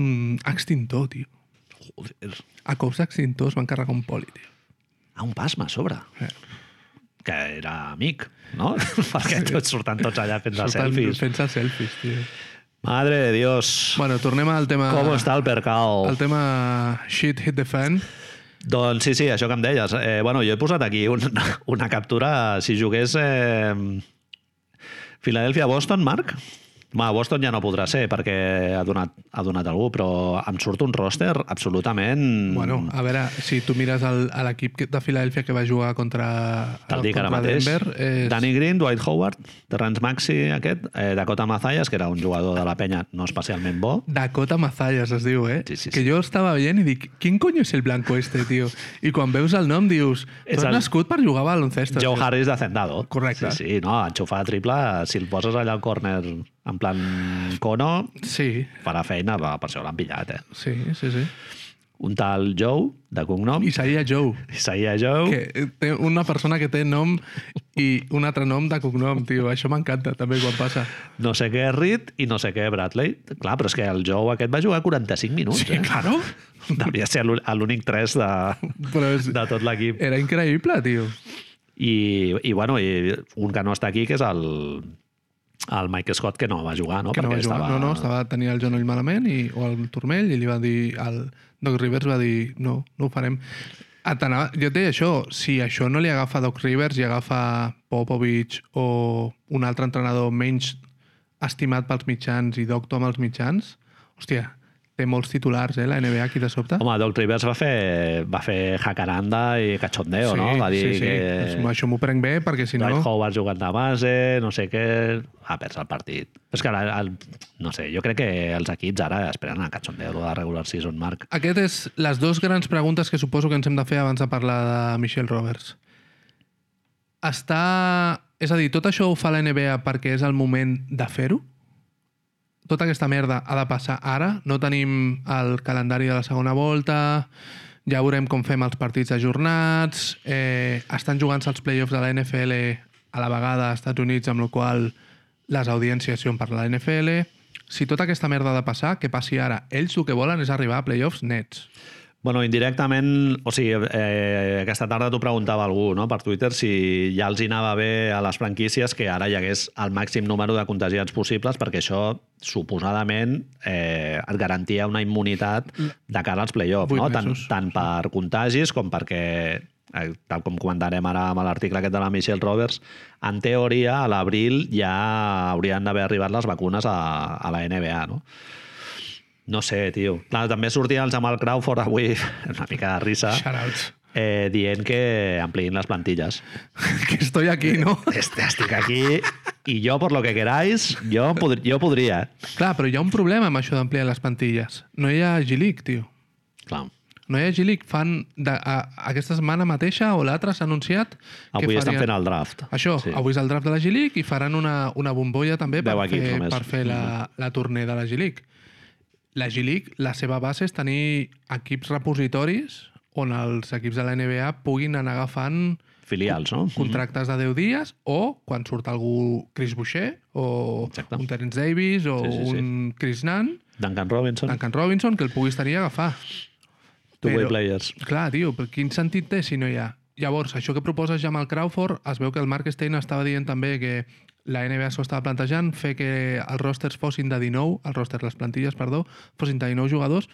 B: extintor, tio.
A: Joder.
B: A cops d'extintors van carregar un poli, tio.
A: Ah, un pasma a sobre.
B: Eh.
A: Que era amic, no? Perquè tots surten tots allà fent les
B: Surten
A: selfies.
B: Fent-se selfies, tio.
A: Madre de Dios.
B: Bueno, tornem al tema...
A: Com està el percal?
B: El tema shit hit the fan.
A: Doncs sí, sí, això que em deies. Eh, bueno, jo he posat aquí un, una captura. Si jugués eh, Filadèlfia-Boston, Marc? Ma, Boston ja no podrà ser perquè ha donat, ha donat algú, però em surt un roster absolutament...
B: Bueno, a veure, si tu mires el- a l'equip que- de Filadèlfia que va jugar contra,
A: Te'l dic ara
B: contra
A: mateix.
B: Denver... És...
A: Danny Green, Dwight Howard, Terrence Maxi, aquest, eh, Dakota Mazayas, que era un jugador de la penya no especialment bo,
B: Dakota Mazayas es diu, eh?
A: Sí, sí, sí.
B: Que jo estava veient i dic, quin coño és el blanco este, tio? I quan veus el nom dius, tu
A: És
B: has
A: el-
B: nascut per jugar a baloncesto.
A: Joe
B: tio."
A: Harris de Zendado.
B: Correcte.
A: Sí, sí, no, enxufar triple, si el poses allà al córner en plan cono,
B: Sí,
A: farà feina, va, per això l'han pillat, eh?
B: sí, sí, sí.
A: Un tal Joe, de cognom,
B: Isaiah Joe,
A: Isaiah Joe, que...
B: que eh, té una persona que té nom i un altre nom de cognom, tio. Això m'encanta també quan passa.
A: no sé què Reed i no sé què Bradley. Clar, però és que el Joe aquest va jugar 45 minuts,
B: Sí,
A: eh?
B: claro.
A: Devia ser l'ú- l'únic 3 de,
B: Però és...
A: de tot l'equip.
B: Era increïble, tio.
A: I, i bueno, i un que no està aquí, que és el, el Mike Scott, que no va jugar, no?
B: que no va jugar.
A: estava...
B: No, no, estava, tenia el genoll malament i, o el turmell i li va dir... El Doc Rivers va dir, no, no ho farem. Et anava- jo et deia això, si això no li agafa Doc Rivers i agafa Popovich o un altre entrenador menys estimat pels mitjans i doctor amb els mitjans, hòstia, té molts titulars, eh, la NBA aquí de sobte.
A: Home, Doc Rivers va fer, va fer jacaranda i cachondeo, no? Va dir
B: sí, sí.
A: que
B: Això m'ho prenc bé perquè si
A: Dwight
B: no...
A: Howard jugant de base, no sé què... Va, perds el partit. Però és que, ara, el, no sé, jo crec que els equips ara esperen a cachondeo de regular season, Marc.
B: Aquest és les dues grans preguntes que suposo que ens hem de fer abans de parlar de Michelle Roberts. Està... És a dir, tot això ho fa la NBA perquè és el moment de fer-ho? Tota aquesta merda ha de passar ara? No tenim el calendari de la segona volta? Ja veurem com fem els partits ajornats? Eh, estan jugant-se els playoffs de la NFL a la vegada als Estats Units, amb la qual les audiències són per la NFL. Si tota aquesta merda ha de passar, que passi ara. Ells el que volen és arribar a playoffs nets.
A: Bueno, indirectament, o sigui, eh, aquesta tarda t'ho preguntava algú no, per Twitter si ja els hi anava bé a les franquícies que ara hi hagués el màxim número de contagiats possibles perquè això suposadament eh, et garantia una immunitat de cara als playoffs,
B: Mm. Vuit
A: no? tant,
B: mesos. Mm.
A: tant per contagis com perquè eh, tal com comentarem ara amb l'article aquest de la Michelle Roberts, en teoria a l'abril ja haurien d'haver arribat les vacunes a, a la NBA, no? No sé, tio. Clar, també sortia el Jamal Crawford avui, una mica de risa,
B: Shoutouts.
A: eh, dient que ampliïn les plantilles.
B: Que estoy aquí, no?
A: Este, Estic aquí i jo, per lo que queráis, jo, podr jo podria. eh.
B: Clar, però hi ha un problema amb això d'ampliar les plantilles. No hi ha G-League, tio.
A: Clar.
B: No hi ha G-League, fan... De, a, aquesta setmana mateixa o l'altra s'ha anunciat... que
A: Avui estan
B: farien-
A: fent el draft.
B: Això,
A: Sí.
B: sí. avui és el draft de la G-League i faran una, una bombolla també per
A: Deu equips
B: fer,
A: només. Mm-hmm.
B: per fer la, la torner de la G-League. La G-League, la seva base és tenir equips repositoris on els equips de la NBA puguin anar agafant
A: Filials, no?
B: contractes de 10 dies o quan surt algú Chris Boucher o
A: Exacte.
B: un Terence Davis o
A: Sí,
B: sí,
A: sí,
B: sí,
A: sí.
B: un Chris Nunn,
A: Duncan Robinson,
B: Duncan Robinson, que el puguis tenir a agafar.
A: two-way
B: però-
A: players.
B: Clar, tio, però quin sentit té si no hi ha? Llavors, això que proposes ja amb el Crawford, es veu que el Mark Stein estava dient també que la NBA s'ho estava plantejant, fer que els rosters fossin de 19, els rosters, les plantilles, perdó, fossin de 19 jugadors,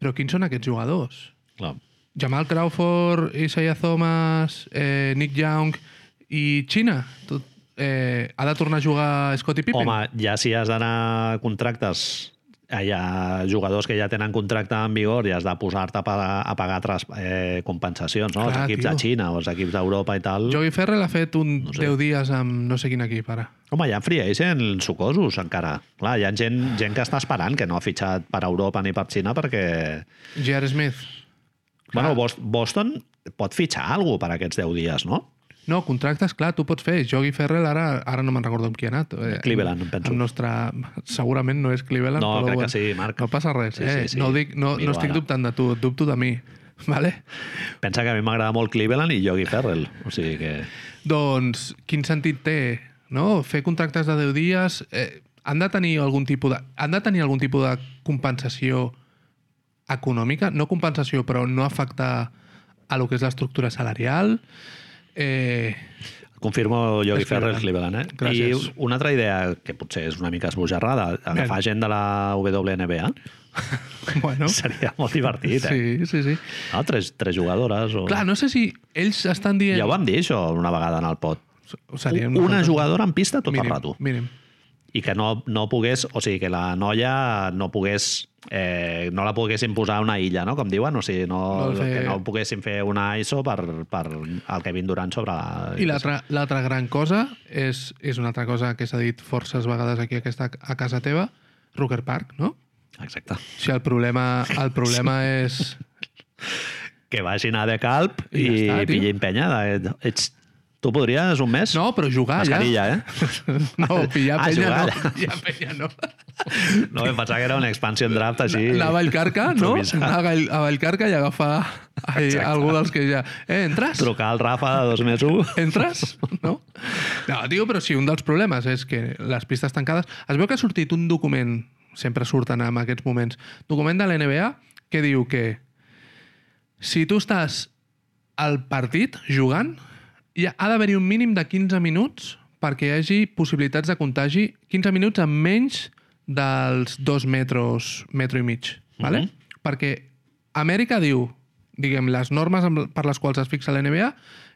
B: però quins són aquests jugadors?
A: Clar.
B: Jamal Crawford, Isaiah Thomas, eh, Nick Young i Xina. Tot, eh, ha de tornar a jugar Scottie Pippen?
A: Home, ja si has d'anar a contractes eh, hi ha jugadors que ja tenen contracte en vigor i has de posar-te a pagar, a pagar tras, eh, compensacions, no? els
B: Clar,
A: equips
B: tio.
A: de Xina o els equips d'Europa i tal. Jo...
B: Joey Ferrell ha fet un no
A: sé.
B: sé. 10 dies amb no sé quin equip, ara.
A: Home, hi ha free agent sucosos encara. Clar, hi ha gent, gent que està esperant que no ha fitxat per Europa ni per Xina perquè...
B: J.R. Smith.
A: Bueno, Bos- Boston pot fitxar alguna per aquests 10 dies, no?
B: No, contractes, clar, tu pots fer. Joey Ferrell, ara ara no me'n recordo amb qui ha anat. Eh,
A: Cleveland, em penso.
B: El nostre... Segurament no és Cleveland,
A: No,
B: però
A: crec
B: bueno,
A: que sí, Marc.
B: No passa res,
A: Sí,
B: eh?
A: sí, sí.
B: No, ho dic, no,
A: Miro
B: no estic
A: ara.
B: dubtant de tu, dubto de mi. Vale?
A: Pensa que a mi m'agrada molt Cleveland i Yogi Ferrell. O sigui que...
B: Doncs quin sentit té, no? Fer contractes de 10 dies, eh, han de tenir algun tipus de han de tenir algun tipus de compensació econòmica, no compensació, però no afecta a lo que és l'estructura salarial. Eh,
A: Confirmo Yogi
B: És Cleveland.
A: Ferrer, Cleveland, eh?
B: Gràcies.
A: I una altra idea que potser és una mica esbojarrada, agafar gent de la WNBA
B: bueno, sí,
A: seria molt divertit, eh?
B: sí, sí.
A: Sí. No, tres, tres jugadores o...
B: Clar, no sé si ells estan dient...
A: Ja ho vam dir, això, una vegada en el pot.
B: Seria
A: una,
B: fantàstica.
A: jugadora en pista tot
B: mínim,
A: el rato.
B: Mínim.
A: I que no, no pogués... O sigui, que la noia no pogués... Eh, no la poguessin posar a una illa, no? Com diuen, o sigui, no,
B: No
A: no
B: fer-
A: que no poguessin fer una ISO per, per el Kevin Durant sobre la...
B: I l'altra l'altra gran cosa és, és una altra cosa que s'ha dit forces vegades aquí aquesta, a casa teva, Rucker Park, no?
A: Exacte.
B: Si el problema, el problema és...
A: que vagin a de calp i,
B: I ja
A: i
B: està,
A: ja
B: tio.
A: pillin penya. De, ets, tu podries un mes?
B: No, però jugar
A: Mascarilla,
B: allà...
A: eh?
B: No, pillar
A: Ah,
B: penya
A: jugar
B: no.
A: allà.
B: Pillar penya no.
A: No, em pensava que era un expansion draft així.
B: Anar a Vallcarca, no?
A: improvisat.
B: Anar a Gall- a Vallcarca i agafar ai,
A: Exacte.
B: algú dels que ja... Eh, entres?
A: Trucar al Rafa de dos més un.
B: Entres? No? No, tio, però sí, un dels problemes és que les pistes tancades... Es veu que ha sortit un document, sempre surten en aquests moments, document de la NBA que diu que si tu estàs al partit jugant, hi ha ha d'haver-hi un mínim de 15 minuts perquè hi hagi possibilitats de contagi 15 minuts amb menys dels dos metros, metro i mig. Vale?
A: Mhm.
B: Perquè Amèrica diu, diguem, les normes amb- per les quals es fixa la NBA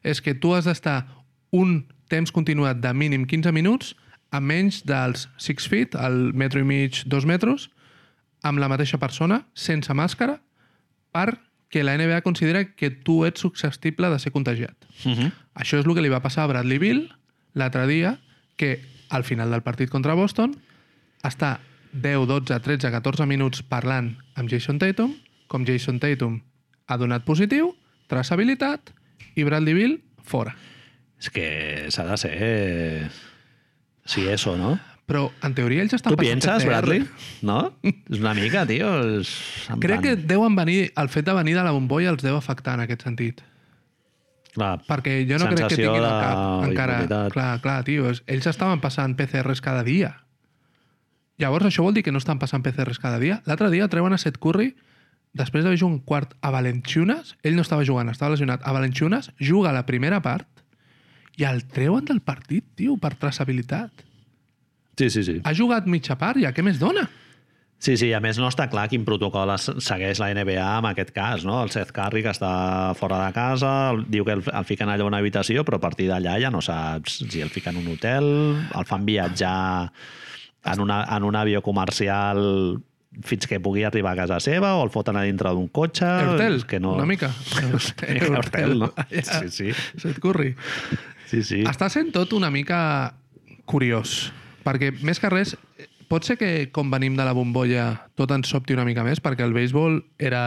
B: és que tu has d'estar un temps continuat de mínim 15 minuts a menys dels 6 feet, el metro i mig, dos metres, amb la mateixa persona, sense màscara, perquè la NBA considera que tu ets susceptible de ser contagiat.
A: Uh -huh.
B: Això és el que li va passar a Bradley Bill l'altre dia, que al final del partit contra Boston està 10, 12, 13, 14 minuts parlant amb Jason Tatum, com Jason Tatum ha donat positiu, traçabilitat, i Bradley Bill fora.
A: És que s'ha de ser... eh, Sí, eso, no?
B: Però, en teoria, ells estan
A: tu pienses,
B: PCR.
A: Bradley? No? És una mica, tio... És... en
B: Crec que
A: plan-
B: deuen venir, el fet de venir de la bombolla els deu afectar en aquest sentit.
A: Clar,
B: Perquè jo no crec que
A: sensació
B: tinguin
A: de
B: al cap encara...
A: immunitat.
B: Clar, clar, tio, és- ells estaven passant PCRs cada dia. Llavors això vol dir que no estan passant PCRs cada dia. L'altre dia treuen a Seth Curry, després d'haver jugat un quart a Valenciunes, ell no estava jugant, estava lesionat, a Valenciunes, juga la primera part i el treuen del partit, tio, per traçabilitat.
A: Sí, sí, sí.
B: Ha jugat mitja part, ja què més dona?
A: Sí, sí, a més no està clar quin protocol es- segueix la NBA en aquest cas, no? El Seth Curry, que està fora de casa, el- diu que el, el fiquen allà a una habitació, però a partir d'allà ja no saps si el fiquen a un hotel, el fan viatjar en, una, en un avió comercial fins que pugui arribar a casa seva o el foten a dintre d'un cotxe...
B: Eurtel,
A: Ah, és que no...
B: una mica.
A: Eurtel, no?
B: Allà.
A: Sí, sí.
B: Seth Curry.
A: Sí, sí.
B: Està sent tot una mica curiós, perquè més que res, eh, Pot ser que, com venim de la bombolla, tot ens sobti una mica més, perquè el béisbol era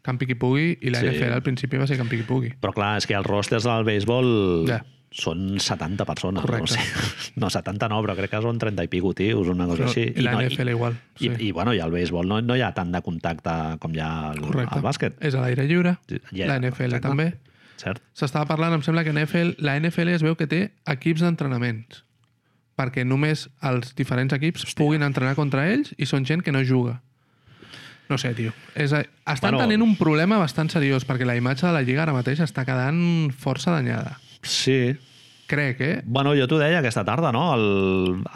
B: campi qui pugui i la
A: Sí.
B: sí. NFL al principi va ser campi qui pugui.
A: Però clar, és que els rosters del béisbol
B: Ja.
A: són 70 persones.
B: Correcte.
A: No, sé. no, 70 no, però crec que són 30 i pico, tios, una cosa
B: Però
A: així.
B: i la
A: no,
B: NFL igual,
A: I,
B: sí.
A: i, bueno, i al béisbol no, no hi ha tant de contacte com hi ha al,
B: Correcte.
A: al bàsquet.
B: És a l'aire lliure,
A: Sí, ja,
B: yeah, la NFL
A: exacte.
B: també.
A: Cert?
B: S'estava parlant, em sembla que NFL, la NFL es veu que té equips d'entrenaments perquè només els diferents equips Hòstia. puguin entrenar contra ells i són gent que no juga. No sé, tio. És a... Estan
A: Bueno.
B: bueno, tenint un problema bastant seriós perquè la imatge de la Lliga ara mateix està quedant força danyada.
A: Sí.
B: Crec, eh?
A: Bueno, jo t'ho deia aquesta tarda, no? El,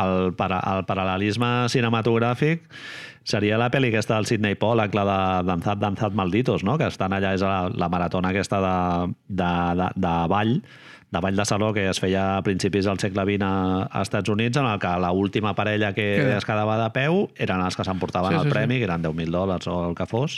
A: el, para, el paral·lelisme cinematogràfic seria la pel·li aquesta del Sidney Pollack, la de Danzat, Danzat Malditos, no? Que estan allà, és la, la maratona aquesta de, de, de, de ball, de ball de saló que es feia a principis del segle XX a, a Estats Units, en el que la última parella que
B: Queda.
A: es quedava de peu eren els que s'emportaven
B: Sí,
A: sí,
B: sí,
A: el
B: sí.
A: premi, que eren 10.000 dòlars o el que fos.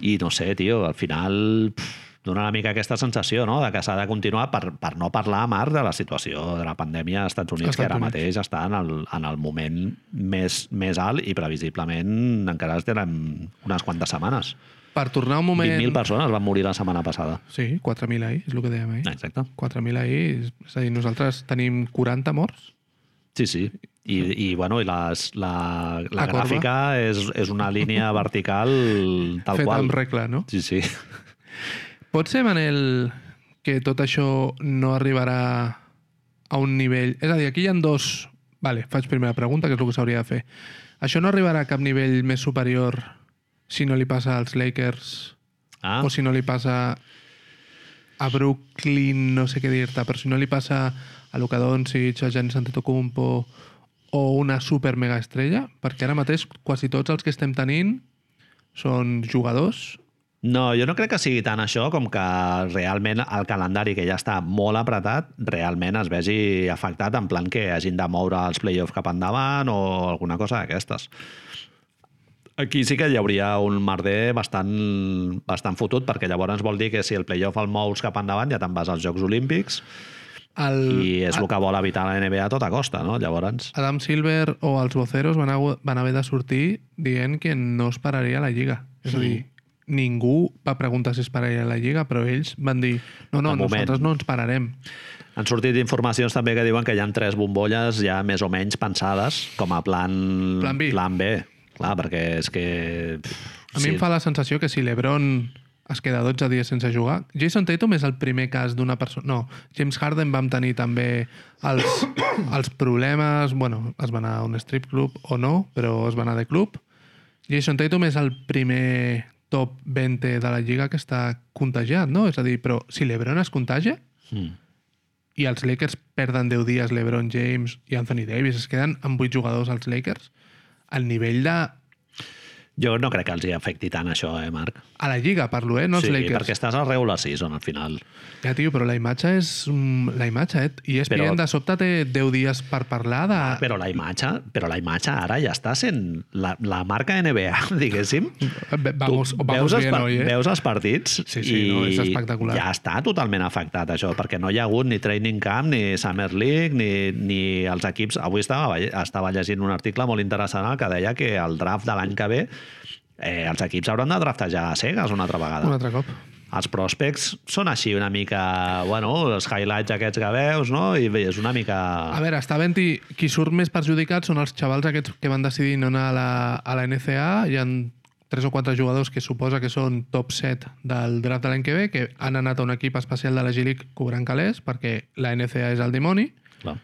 A: I no sé, tio, al final pff, dona una mica aquesta sensació no? de que s'ha de continuar per, per no parlar, Marc, de la situació de la pandèmia als Estats Units,
B: Als
A: que ara
B: Estats Units.
A: mateix està en el, en el moment més, més alt i previsiblement encara es tenen unes quantes setmanes.
B: Per tornar un moment...
A: 20.000 persones van morir la setmana passada.
B: Sí, 4.000 ahir, és el que dèiem ahir.
A: Exacte.
B: 4.000 ahir, és a dir, nosaltres tenim 40 morts.
A: Sí, sí. I, i, bueno, i les, la, la,
B: La corba.
A: gràfica és, és una línia vertical tal
B: fet
A: qual.
B: amb regla, no?
A: Sí, sí.
B: Pot ser, Manel, que tot això no arribarà a un nivell... És a dir, aquí hi ha dos... Vale, faig primera pregunta, que és el que s'hauria de fer. Això no arribarà a cap nivell més superior si no li passa als Lakers
A: Ah,
B: ah. o si no li passa a Brooklyn, no sé què dir-te, però si no li passa a Luka Doncic, a Giannis Antetokounmpo o una super mega estrella, perquè ara mateix quasi tots els que estem tenint són jugadors.
A: No, jo no crec que sigui tant això com que realment el calendari, que ja està molt apretat, realment es vegi afectat en plan que hagin de moure els play-offs cap endavant o alguna cosa d'aquestes. Aquí sí que hi hauria un merder bastant, bastant fotut, perquè llavors vol dir que si el play-off el mous cap endavant ja te'n vas als Jocs Olímpics
B: El,
A: i és el que vol evitar la NBA a tota costa, no? Llavors...
B: Adam Silver o els voceros van, hagu- van haver de sortir dient que no es pararia la Lliga. És a dir, ningú va preguntar si es pararia la Lliga, però ells van dir no, no,
A: De moment.
B: nosaltres no ens pararem.
A: Han sortit informacions també que diuen que hi ha tres bombolles ja més o menys pensades com a plan,
B: Plan B.
A: plan B. Clar, perquè és que... pff,
B: A mi em fa la sensació que si l'Ebron es queda 12 dies sense jugar... Jason Tatum és el primer cas d'una persona... No, James Harden vam tenir també els, els problemes... Bueno, es va anar a un strip club o no, però es va anar de club. Jason Tatum és el primer top 20 de la lliga que està contagiat, no? És a dir, però si l'Ebron es contagia
A: Mm.
B: i els Lakers perden 10 dies l'Ebron James i Anthony Davis, es queden amb 8 jugadors als Lakers, el nivell de...
A: Jo no crec que els hi afecti tant això, eh, Marc?
B: A la lliga, parlo, eh? No els
A: sí,
B: Lakers.
A: perquè estàs al regular season, al final.
B: Ja, tio, però la imatge és... mm, La imatge, eh? I ESPN
A: Però-
B: però... de sobte té 10 dies per parlar de...
A: Però la imatge, però la imatge ara ja està sent la, la marca NBA, diguéssim.
B: Ve- Vamos,
A: Tu
B: vamos
A: veus,
B: bien
A: els, par-
B: hoy, eh?
A: veus els partits
B: Sí, sí, no, és espectacular.
A: ja està totalment afectat això, perquè no hi ha hagut ni training camp, ni Summer League, ni, ni els equips... Avui estava, vei- estava llegint un article molt interessant en el que deia que el draft de l'any que ve eh, els equips hauran de draftejar a cegues una altra vegada.
B: Un altre cop.
A: Els prospects són així una mica... Bueno, els highlights aquests que veus, no? I bé, és una mica...
B: A veure, està ben i qui surt més perjudicat són els xavals aquests que van decidir no anar a la, a la NCA. Hi han tres o quatre jugadors que suposa que són top 7 del draft de l'any que ve, que han anat a un equip especial de la G-League cobrant calés, perquè la NCA és el dimoni,
A: Clar.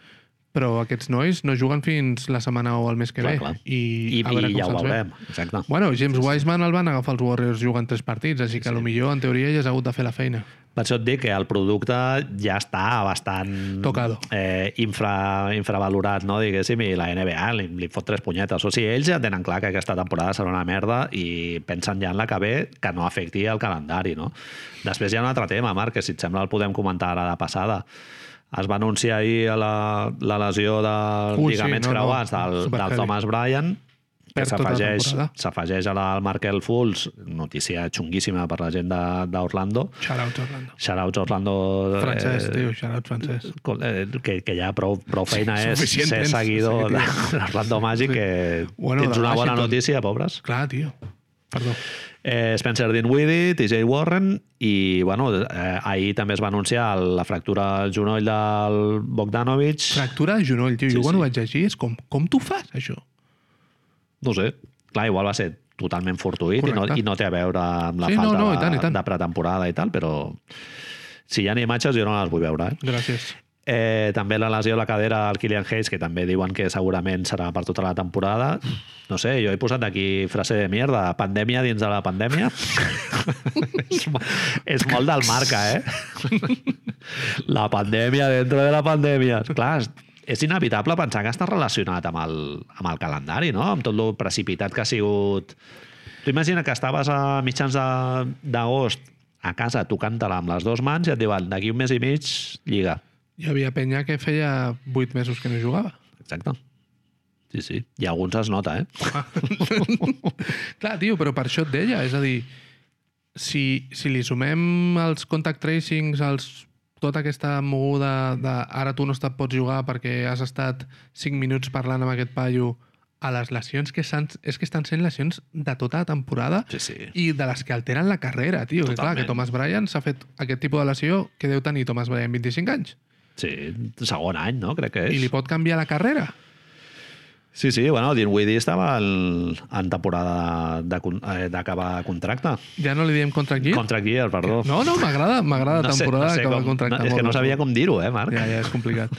B: però aquests nois no juguen fins la setmana o el mes que
A: Clar,
B: ve.
A: clar.
B: I,
A: I,
B: a veure
A: i
B: com
A: ja ho
B: se'ls ve.
A: veurem. Exacte.
B: Bueno, James Wiseman el van agafar els Warriors jugant tres partits, així que sí, millor en teoria ja has hagut de fer la feina.
A: Per això et dic que el producte ja està bastant
B: Tocado.
A: eh, infra, infravalorat, no? diguéssim, i la NBA li, li fot tres punyetes. O sigui, ells ja tenen clar que aquesta temporada serà una merda i pensen ja en la que ve que no afecti el calendari. No? Després hi ha un altre tema, Marc, que si et sembla el podem comentar ara de passada. Es va anunciar ahir la, la lesió de
B: Ui, sí,
A: lligaments
B: no, no,
A: creuats del, del
B: superheavy.
A: Thomas Bryan, que
B: perd tota la
A: s'afegeix
B: temporada.
A: s'afegeix a la- al Markel Fultz, notícia xunguíssima per la gent de- d'Orlando.
B: Shoutouts, Orlando.
A: Shoutouts a Orlando...
B: Francesc,
A: eh,
B: tio, shoutouts, Francesc.
A: col- eh, que, que ja prou, prou feina
B: Sí,
A: és
B: suficient
A: ser
B: tens,
A: seguidor
B: sí,
A: de
B: tio.
A: l'Orlando Magic,
B: Sí.
A: que
B: Bueno,
A: tens
B: de
A: una bona
B: Washington.
A: notícia, pobres.
B: Clar, tio. Perdó.
A: Eh, Spencer Dinwiddie, TJ Warren i, bueno, eh, ahir també es va anunciar la fractura al genoll del Bogdanovic.
B: Fractura de genoll, tio.
A: Sí,
B: Sí, jo quan
A: sí.
B: sí. ho vaig llegir és com, com tu fas, això?
A: No ho sé. Clar, igual va ser totalment fortuït i no,
B: Correcte.
A: i no té a veure amb la
B: Sí, no,
A: falta
B: no,
A: de,
B: i tant, i tant.
A: de pretemporada i tal, però si hi ha imatges jo no les vull veure. Eh?
B: Gràcies.
A: Eh, també la lesió a la cadera al Kylian Hayes, que també diuen que segurament serà per tota la temporada. No sé, jo he posat aquí frase de mierda, pandèmia dins de la pandèmia. és, mo- és molt del marca, eh? la pandèmia dentro de la pandèmia. Clar, és- és inevitable pensar que està relacionat amb el, amb el calendari, no? Amb tot el precipitat que ha sigut... Tu imagina que estaves a mitjans de- d'agost a casa tocant-te-la amb les dues mans i et diuen d'aquí un mes i mig, lliga.
B: Hi havia penya que feia 8 mesos que no jugava.
A: Exacte. Sí, sí. I alguns es nota, eh?
B: Clar, tio, però per això et deia. És a dir, si, si li sumem els contact tracings, els, tota aquesta moguda de ara tu no et pots jugar perquè has estat 5 minuts parlant amb aquest paio, a les lesions que s'han... És que estan sent lesions de tota la temporada
A: Sí, sí.
B: i de les que alteren la carrera, tio. Que, clar,
A: Totalment.
B: que Thomas Bryant s'ha fet aquest tipus de lesió que deu tenir Thomas Bryant 25 anys
A: Sí, segon any, no? Crec que és.
B: i li pot canviar la carrera.
A: Sí, sí, bueno, el Dinwiddie estava en, en temporada de con- eh, d'acabar contracte.
B: Ja no li diem contra aquí?
A: Contract year, perdó.
B: No, no, m'agrada, m'agrada la temporada que va
A: com-
B: contractar.
A: no, és
B: molt
A: que no
B: bé.
A: sabia com dir-ho, eh, Marc?
B: Ja, ja, és complicat.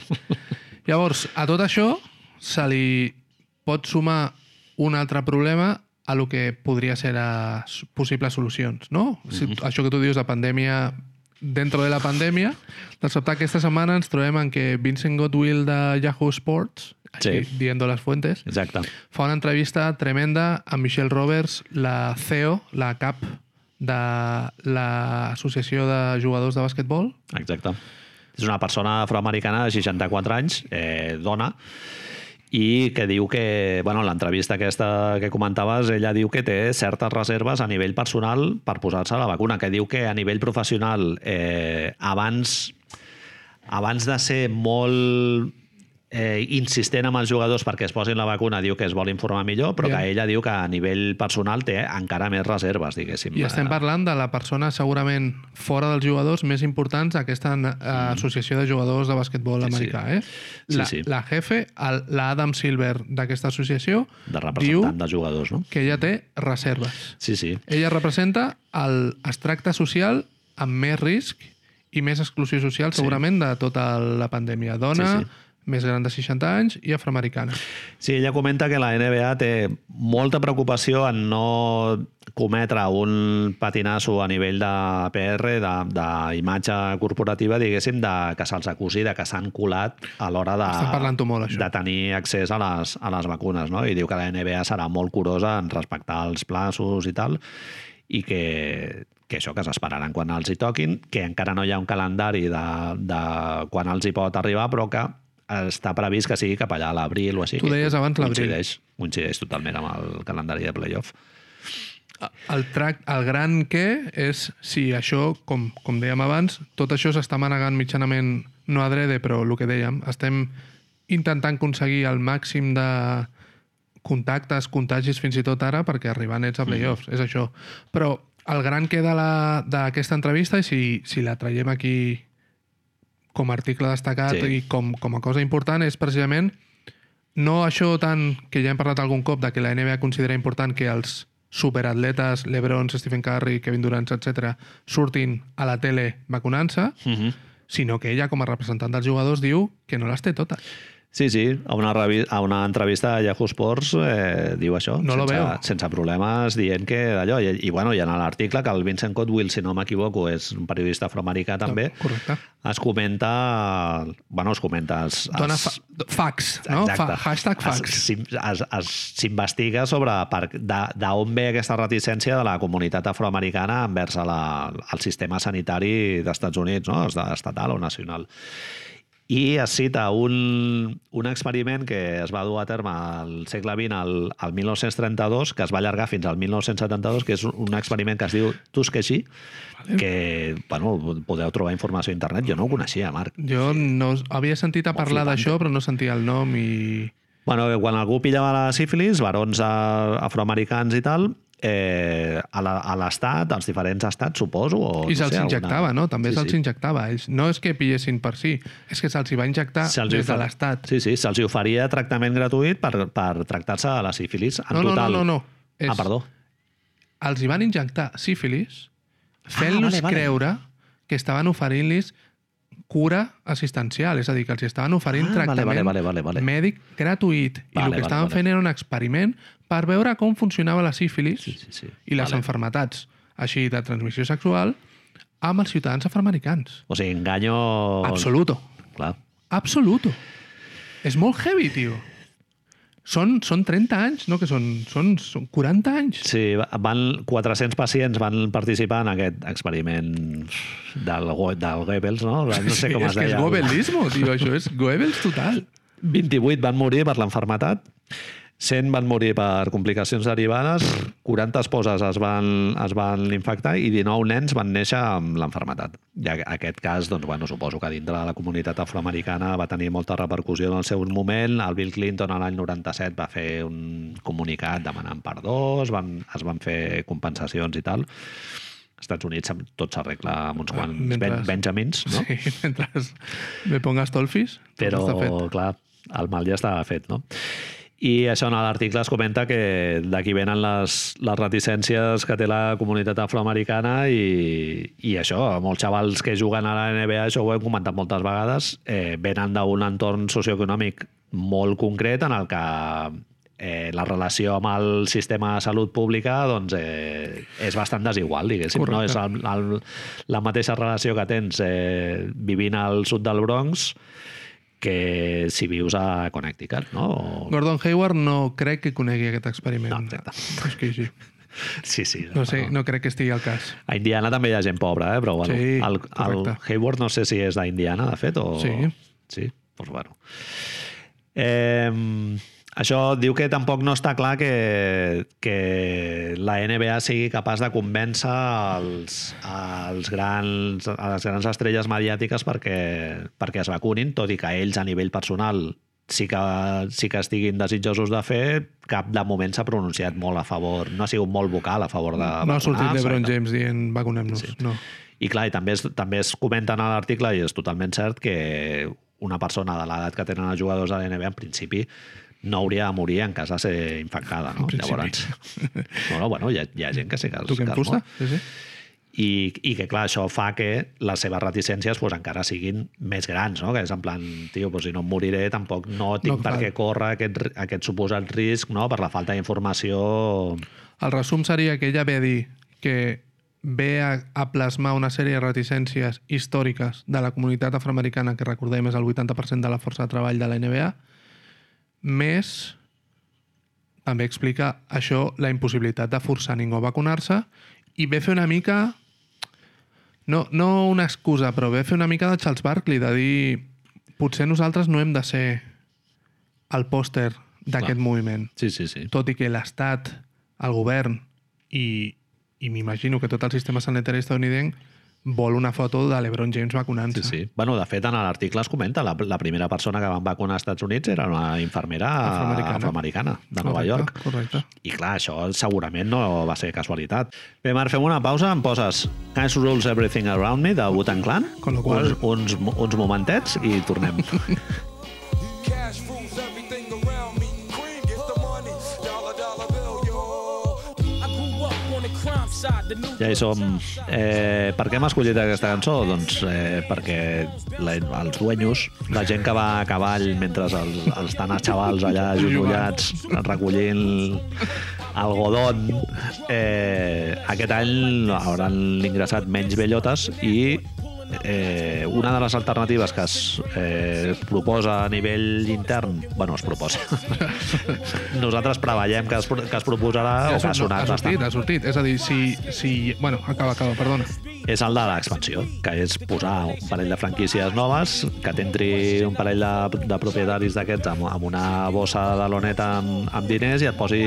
B: Llavors, a tot això se li pot sumar un altre problema a lo que podria ser a s- possibles solucions, no? Si, Això que tu dius de pandèmia dentro de la pandèmia, de sobte aquesta setmana ens trobem en què Vincent Godwill de Yahoo Sports, aquí,
A: Sí.
B: dient les fuentes,
A: Exacte.
B: fa una entrevista tremenda a Michelle Roberts, la CEO, la CAP de l'Associació de Jugadors de Bàsquetbol,
A: Exacte. És una persona afroamericana de 64 anys, eh, dona, i que diu que, bueno, en l'entrevista aquesta que comentaves, ella diu que té certes reserves a nivell personal per posar-se la vacuna, que diu que a nivell professional eh, abans abans de ser molt eh, insistent amb els jugadors perquè es posin la vacuna, diu que es vol informar millor, però
B: Ja.
A: que ella diu que a nivell personal té encara més reserves, diguéssim.
B: I estem parlant de la persona segurament fora dels jugadors més importants d'aquesta eh, associació de jugadors de basquetbol
A: Mm. Sí, sí.
B: americà. Eh?
A: Sí,
B: La,
A: sí.
B: la jefe, el- l'Adam Silver d'aquesta associació,
A: De
B: diu
A: representant de jugadors, no?
B: que ella té reserves.
A: Sí, sí.
B: Ella representa el extracte social amb més risc i més exclusió social segurament de tota la pandèmia. Dona,
A: Sí, sí.
B: més gran de 60 anys i afroamericana.
A: Sí, ella comenta que la NBA té molta preocupació en no cometre un patinasso a nivell de PR, de- d'imatge corporativa, diguéssim, de que se'ls acusi de que s'han colat a l'hora de,
B: Estan parlant-ho molt, això.
A: de tenir accés a les, a les vacunes. No? I diu que la NBA serà molt curosa en respectar els plaços i tal, i que, que això que s'esperaran quan els hi toquin, que encara no hi ha un calendari de, de quan els hi pot arribar, però que està previst que sigui cap allà a l'abril o així.
B: Tu deies abans l'abril.
A: Coincideix, coincideix totalment amb el calendari de playoff.
B: El, trac, el gran què és si això, com, com dèiem abans, tot això s'està manegant mitjanament no adrede, però el que dèiem, estem intentant aconseguir el màxim de contactes, contagis fins i tot ara perquè arribar nets a playoffs, és això. Però el gran què de la- d'aquesta entrevista, i si, si la traiem aquí com a article destacat
A: Sí.
B: sí. i com, com a cosa important, és precisament no això tant que ja hem parlat algun cop de que la NBA considera important que els superatletes, LeBron, Stephen Curry, Kevin Durant, etc., surtin a la tele vacunant-se,
A: Uh -huh.
B: sinó que ella, com a representant dels jugadors, diu que no les té totes.
A: Sí, sí, a una, revi- a una entrevista a Yahoo Sports eh, diu això,
B: No lo
A: sense,
B: veo.
A: sense problemes, dient que d'allò... I, I, bueno, i en l'article, que el Vincent Cotwill, si no m'equivoco, és un periodista afroamericà també,
B: Correcte.
A: es comenta... Bueno, es comenta... Els, els,
B: Dona fa fax, no?
A: Exacte.
B: Fa hashtag
A: Es-
B: fax.
A: s'im- es- es- S'investiga sobre per- de- d'on ve aquesta reticència de la comunitat afroamericana envers la, el sistema sanitari d'Estats Units, no? Es- estatal o nacional. i es cita un, un experiment que es va dur a terme al segle XX, al, al 1932, que es va allargar fins al 1972, que és un experiment que es diu Tuskegee, vale. que bueno, podeu trobar informació a internet. Jo no ho coneixia, Marc.
B: Jo no havia sentit a parlar
A: flipante.
B: d'això, però no sentia el nom i...
A: Bueno, que quan algú pillava la sífilis, barons eh, afroamericans i tal, eh, a la- a l'estat, als diferents estats, suposo, o
B: I se'ls
A: sé, alguna-
B: injectava, no? També
A: Sí,
B: se'ls
A: sí.
B: injectava. a Ells. No és que pillessin per si, és que se'ls hi va injectar
A: Se'ls
B: des de
A: ofer-
B: l'Estat.
A: Sí, sí, se'ls hi oferia tractament gratuït per, per tractar-se de la sífilis. En
B: No, no,
A: total.
B: no, no, no.
A: Ah, perdó.
B: Els hi van injectar sífilis fent-los
A: Ah, vale, vale.
B: creure que estaven oferint-los cura assistencial, és a dir, que els hi estaven oferint
A: Ah, vale,
B: tractament
A: vale, vale, vale, vale.
B: mèdic gratuït. I
A: Vale,
B: el que
A: vale,
B: estaven
A: vale.
B: fent era un experiment per veure com funcionava la sífilis
A: Sí, sí, sí.
B: i les
A: Vale.
B: enfermetats així de transmissió sexual amb els ciutadans afroamericans.
A: O sigui, enganyo...
B: Absoluto.
A: Clar.
B: Absoluto. És molt heavy, tio. Són, són 30 anys, no? Que són, són, són 40 anys.
A: Sí, van, 400 pacients van participar en aquest experiment del, Go- del Goebbels, no? No sé com es
B: sí, és que és
A: deia.
B: goebelismo, tio. Això és goebels total.
A: 28 van morir per l'enfermetat, 100 van morir per complicacions derivades, 40 esposes es van, es van infectar i 19 nens van néixer amb l'enfermetat. I a- aquest cas, doncs, bueno, suposo que dintre de la comunitat afroamericana va tenir molta repercussió en el seu moment. El Bill Clinton a l'any 97 va fer un comunicat demanant perdó, es van, es van fer compensacions i tal. Als Estats Units tot s'arregla amb uns quants
B: mentre-
A: ben, benjamins, no?
B: Sí, mentre me pongas tolfis, tot
A: però
B: està fet.
A: clar, el mal ja estava fet, no? I això en l'article es comenta que d'aquí venen les, les reticències que té la comunitat afroamericana i, i això, molts xavals que juguen a la NBA, això ho hem comentat moltes vegades, eh, venen d'un entorn socioeconòmic molt concret en el que eh, la relació amb el sistema de salut pública doncs, eh, és bastant desigual, diguéssim. No
B: Correcte.
A: és el, el, la mateixa relació que tens eh, vivint al sud del Bronx que si vius a Connecticut, no? O...
B: Gordon Hayward no crec que conegui aquest experiment.
A: No, exacte.
B: És que sí.
A: Sí, sí.
B: No sé, no crec que estigui al cas.
A: A Indiana també hi ha gent pobra, eh? però bueno,
B: Sí,
A: el, el
B: correcte.
A: Hayward no sé si és d'Indiana, de fet, o...
B: Sí.
A: Sí, doncs bueno. Eh, això diu que tampoc no està clar que, que la NBA sigui capaç de convèncer els, els grans, a les grans estrelles mediàtiques perquè, perquè es vacunin, tot i que ells a nivell personal sí que, sí que estiguin desitjosos de fer, cap de moment s'ha pronunciat molt a favor, no ha sigut molt vocal a favor de
B: No ha sortit
A: vacunar-se i
B: LeBron
A: tal.
B: James dient vacunem-nos. No.
A: I clar, i també es, també es comenta en l'article, i és totalment cert, que una persona de l'edat que tenen els jugadors de l'NBA, en principi, no hauria de morir en cas de ser infectada. No?
B: principi.
A: Llavors, bueno, bueno, hi, ha, hi ha gent que sí que es,
B: Toquem
A: que es
B: fusta?
A: mor.
B: Sí, sí.
A: I, I que, clar, això fa que les seves reticències pues, encara siguin més grans, no? que és en plan, tio, pues, si no em moriré, tampoc no tinc
B: No,
A: per
B: clar.
A: què córrer aquest, ri- aquest suposat risc no? per la falta d'informació
B: El resum seria que ella ve a dir que ve a, a plasmar una sèrie de reticències històriques de la comunitat afroamericana, que recordem és el 80% de la força de treball de la NBA, més també explica això, la impossibilitat de forçar ningú a vacunar-se i ve a fer una mica no, no una excusa, però ve a fer una mica de Charles Barkley, de dir potser nosaltres no hem de ser el pòster d'aquest moviment
A: Sí, sí, sí.
B: tot i que l'Estat, el govern i, i m'imagino que tot el sistema sanitari estatunidenc vol una foto de l'Ebron James vacunant-se.
A: Sí, sí. Bueno, de fet, en l'article es comenta la, la primera persona que van vacunar als Estats Units era una infermera
B: Afroamericana.
A: afroamericana, afroamericana de Nova
B: Correcte,
A: York.
B: Correcte.
A: I clar, això segurament no va ser casualitat. Bé, Marc, fem una pausa, em poses Cash Rules Everything Around Me, de Wu-Tang Clan,
B: Con lo cual-
A: uns, uns, uns momentets i tornem.
D: Cash rules everything around me. Queen, get the money. Dollar, dollar bill, yo.
E: I grew up on the crime side, the new
A: Ja hi som. Eh, per què hem escollit aquesta cançó? Doncs eh, perquè la, els duenyos, la gent que va a cavall mentre els, els estan els xavals allà ajollats recollint algodon, eh, aquest any hauran ingressat menys bellotes i eh, una de les alternatives que es eh, proposa a nivell intern, bueno, es proposa. Nosaltres preveiem que es, pro- que es proposarà o que ha
B: No,
A: sonat
B: ha sortit,
A: bastant.
B: ha sortit. És a dir, si... si bueno, acaba, acaba, perdona.
A: és el de l'expansió, que és posar un parell de franquícies noves, que t'entri un parell de, de propietaris d'aquests amb, amb una bossa de loneta amb, amb diners i et posi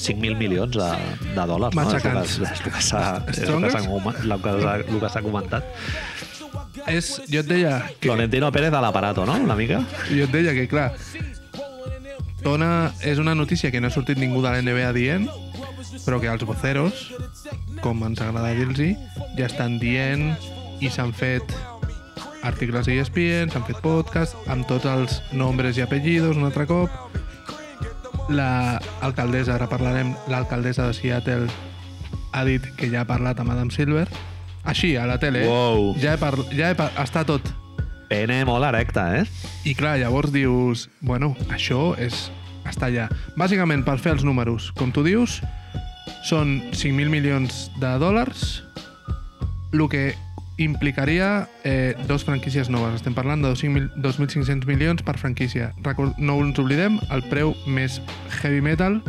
A: 5.000 milions de, de dòlars.
B: Matxacants.
A: No? És el que- És el que s'ha- és el que s'ha com- el que s'ha- el que s'ha comentat.
B: És, jo et deia que,
A: Florentino Pérez a l'aparato, no? Una mica.
B: jo et deia que clar, dona, és una notícia que no ha sortit ningú de la NBA dient, però que els voceros, com ens agrada dir-los, ja estan dient i s'han fet articles a ESPN, s'han fet podcasts, amb tots els nombres i apellidos un altre cop. La alcaldessa, ara parlarem, l'alcaldessa de Seattle ha dit que ja ha parlat amb Adam Silver. Així, a la tele. eh?
A: Wow.
B: Ja, he par... ja he par... està tot.
A: Pene molt erecta, eh?
B: I clar, llavors dius, bueno, això és està allà. Bàsicament, per fer els números, com tu dius, són 5.000 milions de dòlars, el que implicaria eh, dos franquícies noves. Estem parlant de 2.500 2.500 milions per franquícia. Record, no ens oblidem, el preu més heavy metal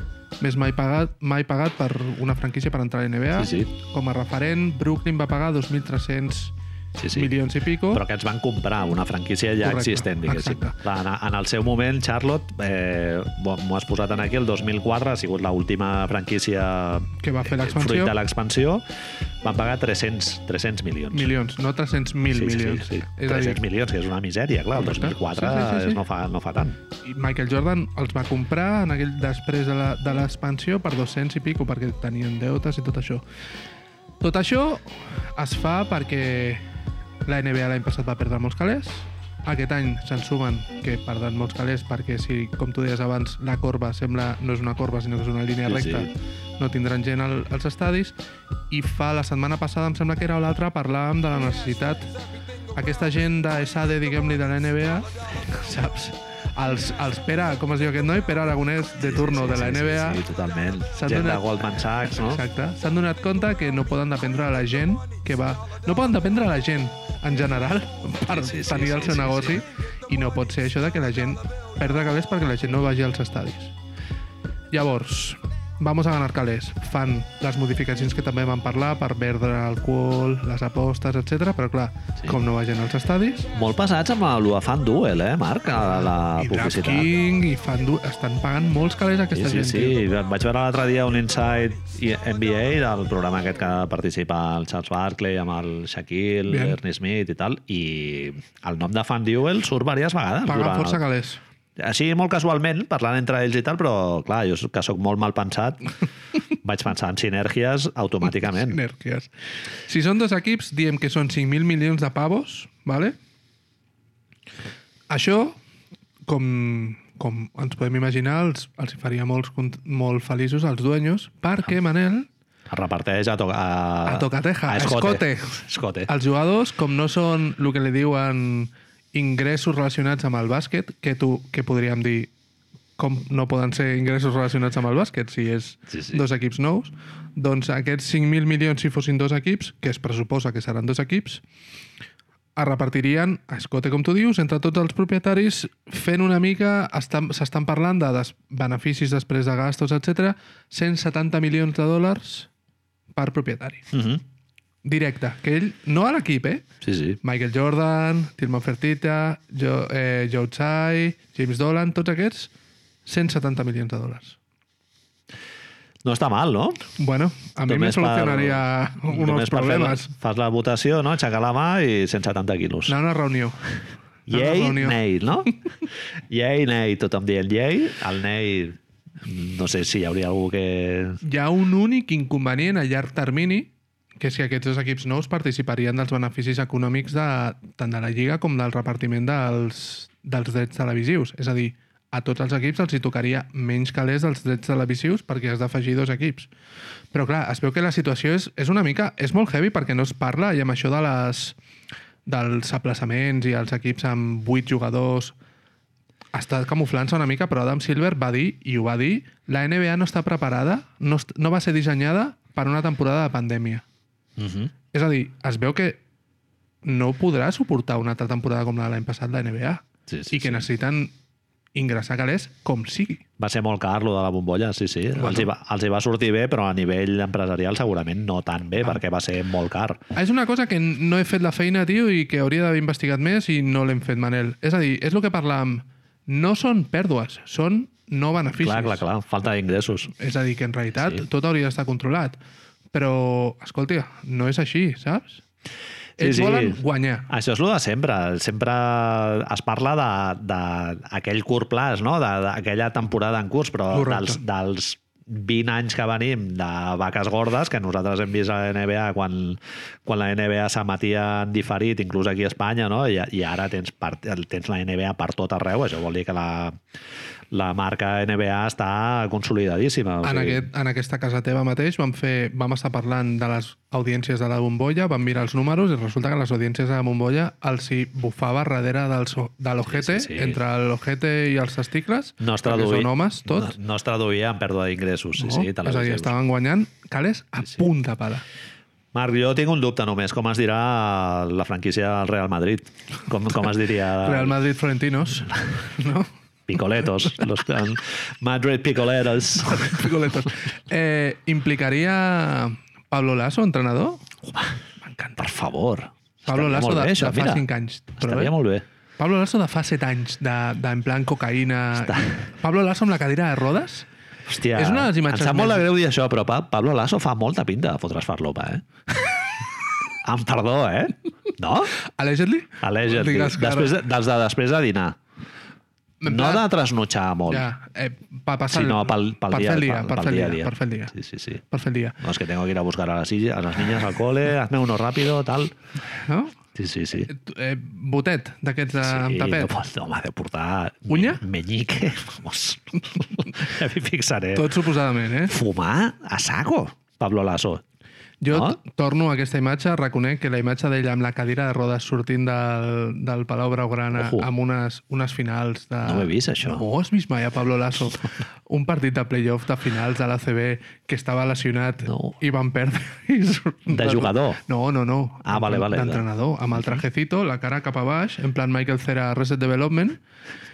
B: més mai pagat, mai pagat per una franquícia per entrar a la NBA.
A: Sí, sí.
B: Com a referent, Brooklyn va pagar 2.300
A: Sí,
B: sí.
A: sí.
B: milions i pico.
A: però que ens van comprar una franquícia ja
B: Correcte,
A: existent, diguéssim.
B: exacte.
A: Clar, en, en el seu moment, Charlotte, eh, bo- m'ho has posat en aquí, el 2004 ha sigut l'última franquícia
B: Que va fer
A: eh,
B: l'expansió.
A: fruit de l'expansió, van pagar 300, 300 milions.
B: Milions, no 300.000
A: sí,
B: milions.
A: Sí, sí, sí.
B: És a
A: 300
B: dir,
A: milions, que és una misèria, clar, el
B: Correcte.
A: 2004
B: Sí, sí, sí, sí.
A: no, fa, no fa tant.
B: i Michael Jordan els va comprar en aquell després de la- de l'expansió per 200 i pico, perquè tenien deutes i tot això. Tot això es fa perquè la NBA l'any passat va perdre molts calés, aquest any se'n sumen que perden molts calés perquè si, com tu deies abans, la corba sembla no és una corba sinó que és una línia
A: Sí,
B: recta,
A: sí.
B: no tindran gent al, als estadis i fa la setmana passada, em sembla que era o l'altra, parlàvem de la necessitat aquesta gent de SAD, diguem-li, de la NBA, saps? Els, els Pere, com es diu aquest noi? Pere Aragonès de turno de la NBA.
A: Sí, sí, sí totalment.
B: S'ha
A: Gent de
B: donat-
A: Goldman Sachs, no?
B: Exacte. S'han donat compte que no poden dependre de la gent que va... No poden dependre de la gent en general per
A: Sí, sí, sí,
B: tenir el
A: sí,
B: seu
A: sí,
B: negoci i no pot ser això de que la gent perda calés perquè la gent no vagi als estadis. Llavors, vamos a ganar calés. Fan les modificacions que també van parlar per perdre l'alcohol, les apostes, etc. Però clar,
A: Sí.
B: com no va gent als estadis,
A: Molt pesats amb el de Fan Duel, eh, Marc? A la
B: i Draft
A: publicitat.
B: King, i fan du... estan pagant molts calés
A: Sí,
B: aquesta
A: sí,
B: gent.
A: sí.
B: tio.
A: Vaig veure l'altre dia un Inside i- NBA del programa aquest que participa el Charles Barkley amb el Shaquille,
B: Bien.
A: Ernie Smith i tal, i el nom de Fan Duel surt diverses vegades.
B: Pagant
A: durant
B: força
A: el-
B: calés.
A: Així, molt casualment, parlant entre ells i tal, però, clar, jo que sóc molt mal pensat, vaig pensar en sinèrgies automàticament.
B: Sinèrgies. Si són dos equips, diem que són 5.000 milions de pavos, vale? Això, com, com ens podem imaginar, els, els hi faria molts, cont- molt feliços als dueños, perquè, Manel,
A: Es reparteix a, to a,
B: A tocateja, a escote.
A: Escote.
B: els jugadors, com no són el que li diuen ingressos relacionats amb el bàsquet, que tu, que podríem dir com no poden ser ingressos relacionats amb el bàsquet si és
A: Sí, sí.
B: dos equips nous, doncs aquests 5.000 milions, si fossin dos equips, que es pressuposa que seran dos equips, es repartirien, a escote com tu dius, entre tots els propietaris, fent una mica, estan- s'estan parlant de des beneficis després de gastos, etc, 170 milions de dòlars per propietari
A: Uh -huh.
B: directe, que ell, no a l'equip, eh?
A: Sí, sí.
B: Michael Jordan, Tilman Fertitta, jo, eh, Joe Tsai, James Dolan, tots aquests, 170 milions de dòlars.
A: No està mal, no?
B: Bueno, a mi me
A: Només per-
B: solucionaria
A: només
B: uns
A: per fer la-
B: problemes.
A: Fas la votació, no? Aixecar la mà i 170 quilos.
B: Anar a una reunió. Anar a una
A: Yay,
B: reunió.
A: nei, no? Yay, nei, tothom dient yay. El nei, no sé si hi hauria algú que...
B: Hi ha un únic inconvenient a llarg termini, que és que aquests dos equips nous participarien dels beneficis econòmics de, tant de la Lliga com del repartiment dels, dels drets televisius. És a dir, a tots els equips els hi tocaria menys calés dels drets televisius perquè has d'afegir dos equips. Però clar, es veu que la situació és, és una mica... És molt heavy perquè no es parla i amb això de les, dels aplaçaments i els equips amb vuit jugadors està camuflant-se una mica, però Adam Silver va dir, i ho va dir, la NBA no està preparada, no, est no va ser dissenyada per una temporada de pandèmia.
A: Uh -huh.
B: És a dir, es veu que no podrà suportar una altra temporada com la de l'any passat la NBA.
A: Sí, sí,
B: I que
A: sí.
B: necessiten ingressar calés com sigui.
A: Va ser molt car, lo de la bombolla, sí, sí. Bueno. Els, hi va, els hi va sortir bé, però a nivell empresarial segurament no tan bé, ah. perquè va ser molt car.
B: Ah, És una cosa que no he fet la feina, tio, i que hauria d'haver investigat més i no l'hem fet, Manel. És a dir, és el que parlàvem. No són pèrdues, són no beneficis.
A: Clar, clar, clar. Falta d'ingressos.
B: És a dir, que en realitat
A: Sí.
B: sí. tot hauria d'estar controlat. Però, escolta, no és així, saps? Sí, Ells sí. volen guanyar.
A: Això és el de sempre. Sempre es parla d'aquell curt plaç, no? De- d'aquella temporada en curs, però dels,
B: Correcte.
A: dels 20 anys que venim de vaques gordes, que nosaltres hem vist a la NBA quan, quan la NBA s'emetia en diferit, inclús aquí a Espanya, no? I, i ara tens, part, tens la NBA per tot arreu. Això vol dir que la, la marca NBA està consolidadíssima. O
B: En, aquest, en aquesta casa teva mateix vam, fer, vam estar parlant de les audiències de la bombolla, vam mirar els números i resulta que les audiències de la bombolla els hi bufava darrere del, so- de
A: Sí, sí,
B: l'ojete, sí, sí,
A: sí.
B: sí. entre l'ojete i els testicles,
A: no es
B: perquè
A: traduïa,
B: són homes, tots.
A: No, no es traduïa en pèrdua d'ingressos, sí,
B: No,
A: sí,
B: és a dir,
A: televisius.
B: estaven guanyant cales a sí, sí. punt de pala.
A: Marc, jo tinc un dubte només. Com es dirà la franquícia del Real Madrid? Com, com es diria?
B: Real Madrid Florentinos, no?
A: Picoletos. Los, en Madrid Picoletos.
B: Picoletos. Eh, implicaria Pablo Lasso, entrenador?
A: Per favor.
B: Pablo
A: Estaria
B: Lasso
A: molt
B: de,
A: bé, això,
B: de fa
A: mira.
B: 5 anys. Però
A: Estaria
B: bé.
A: molt bé.
B: Pablo Lasso de fa 7 anys, de, de, en plan cocaïna...
A: Està-
B: Pablo Lasso amb la cadira de rodes?
A: Hòstia,
B: És una de les imatges
A: em sap molt
B: més-
A: de greu dir això, però pa, Pablo Lasso fa molta pinta de fotre's farlopa, eh? amb perdó, eh? No?
B: Allegedly?
A: Aleixa't.
B: Digues, claro.
A: Després, de, dels de després de dinar.
B: En
A: No
B: plan-
A: de trasnotxar molt, ja.
B: Ja, eh, pa passar el-
A: sinó pel, pel,
B: per
A: dia,
B: fer el dia,
A: pel,
B: per
A: pel
B: fer el
A: dia, a
B: dia,
A: dia.
B: per fer el dia.
A: Sí, sí, sí.
B: Per fer el dia,
A: No, es que tengo que ir a buscar a las, sillas- a las niñas al cole, hazme uno rápido, tal.
B: no?
A: Sí, sí, sí.
B: Eh, tu- Eh, botet, d'aquests de-
A: Sí,
B: amb
A: no,
B: tapet.
A: pot- home, de portar... me-
B: Unya?
A: Meñique, vamos. ja m'hi fixaré. Tot...
B: Tot suposadament, eh?
A: Fumar a saco, Pablo Lasso.
B: Jo
A: No?
B: t- torno a aquesta imatge, reconec que la imatge d'ella amb la cadira de rodes sortint del, del Palau Blaugrana
A: Ojo.
B: amb unes, unes finals de...
A: No ho he vist, això.
B: No ho has vist mai a Pablo Lasso. Un partit de playoff de finals de l'ACB que estava lesionat
A: No.
B: i van perdre. I surt-
A: De jugador?
B: No, no, no.
A: Ah, vale, vale.
B: D'entrenador, amb el trajecito, la cara cap a baix, en plan Michael Cera Reset Development,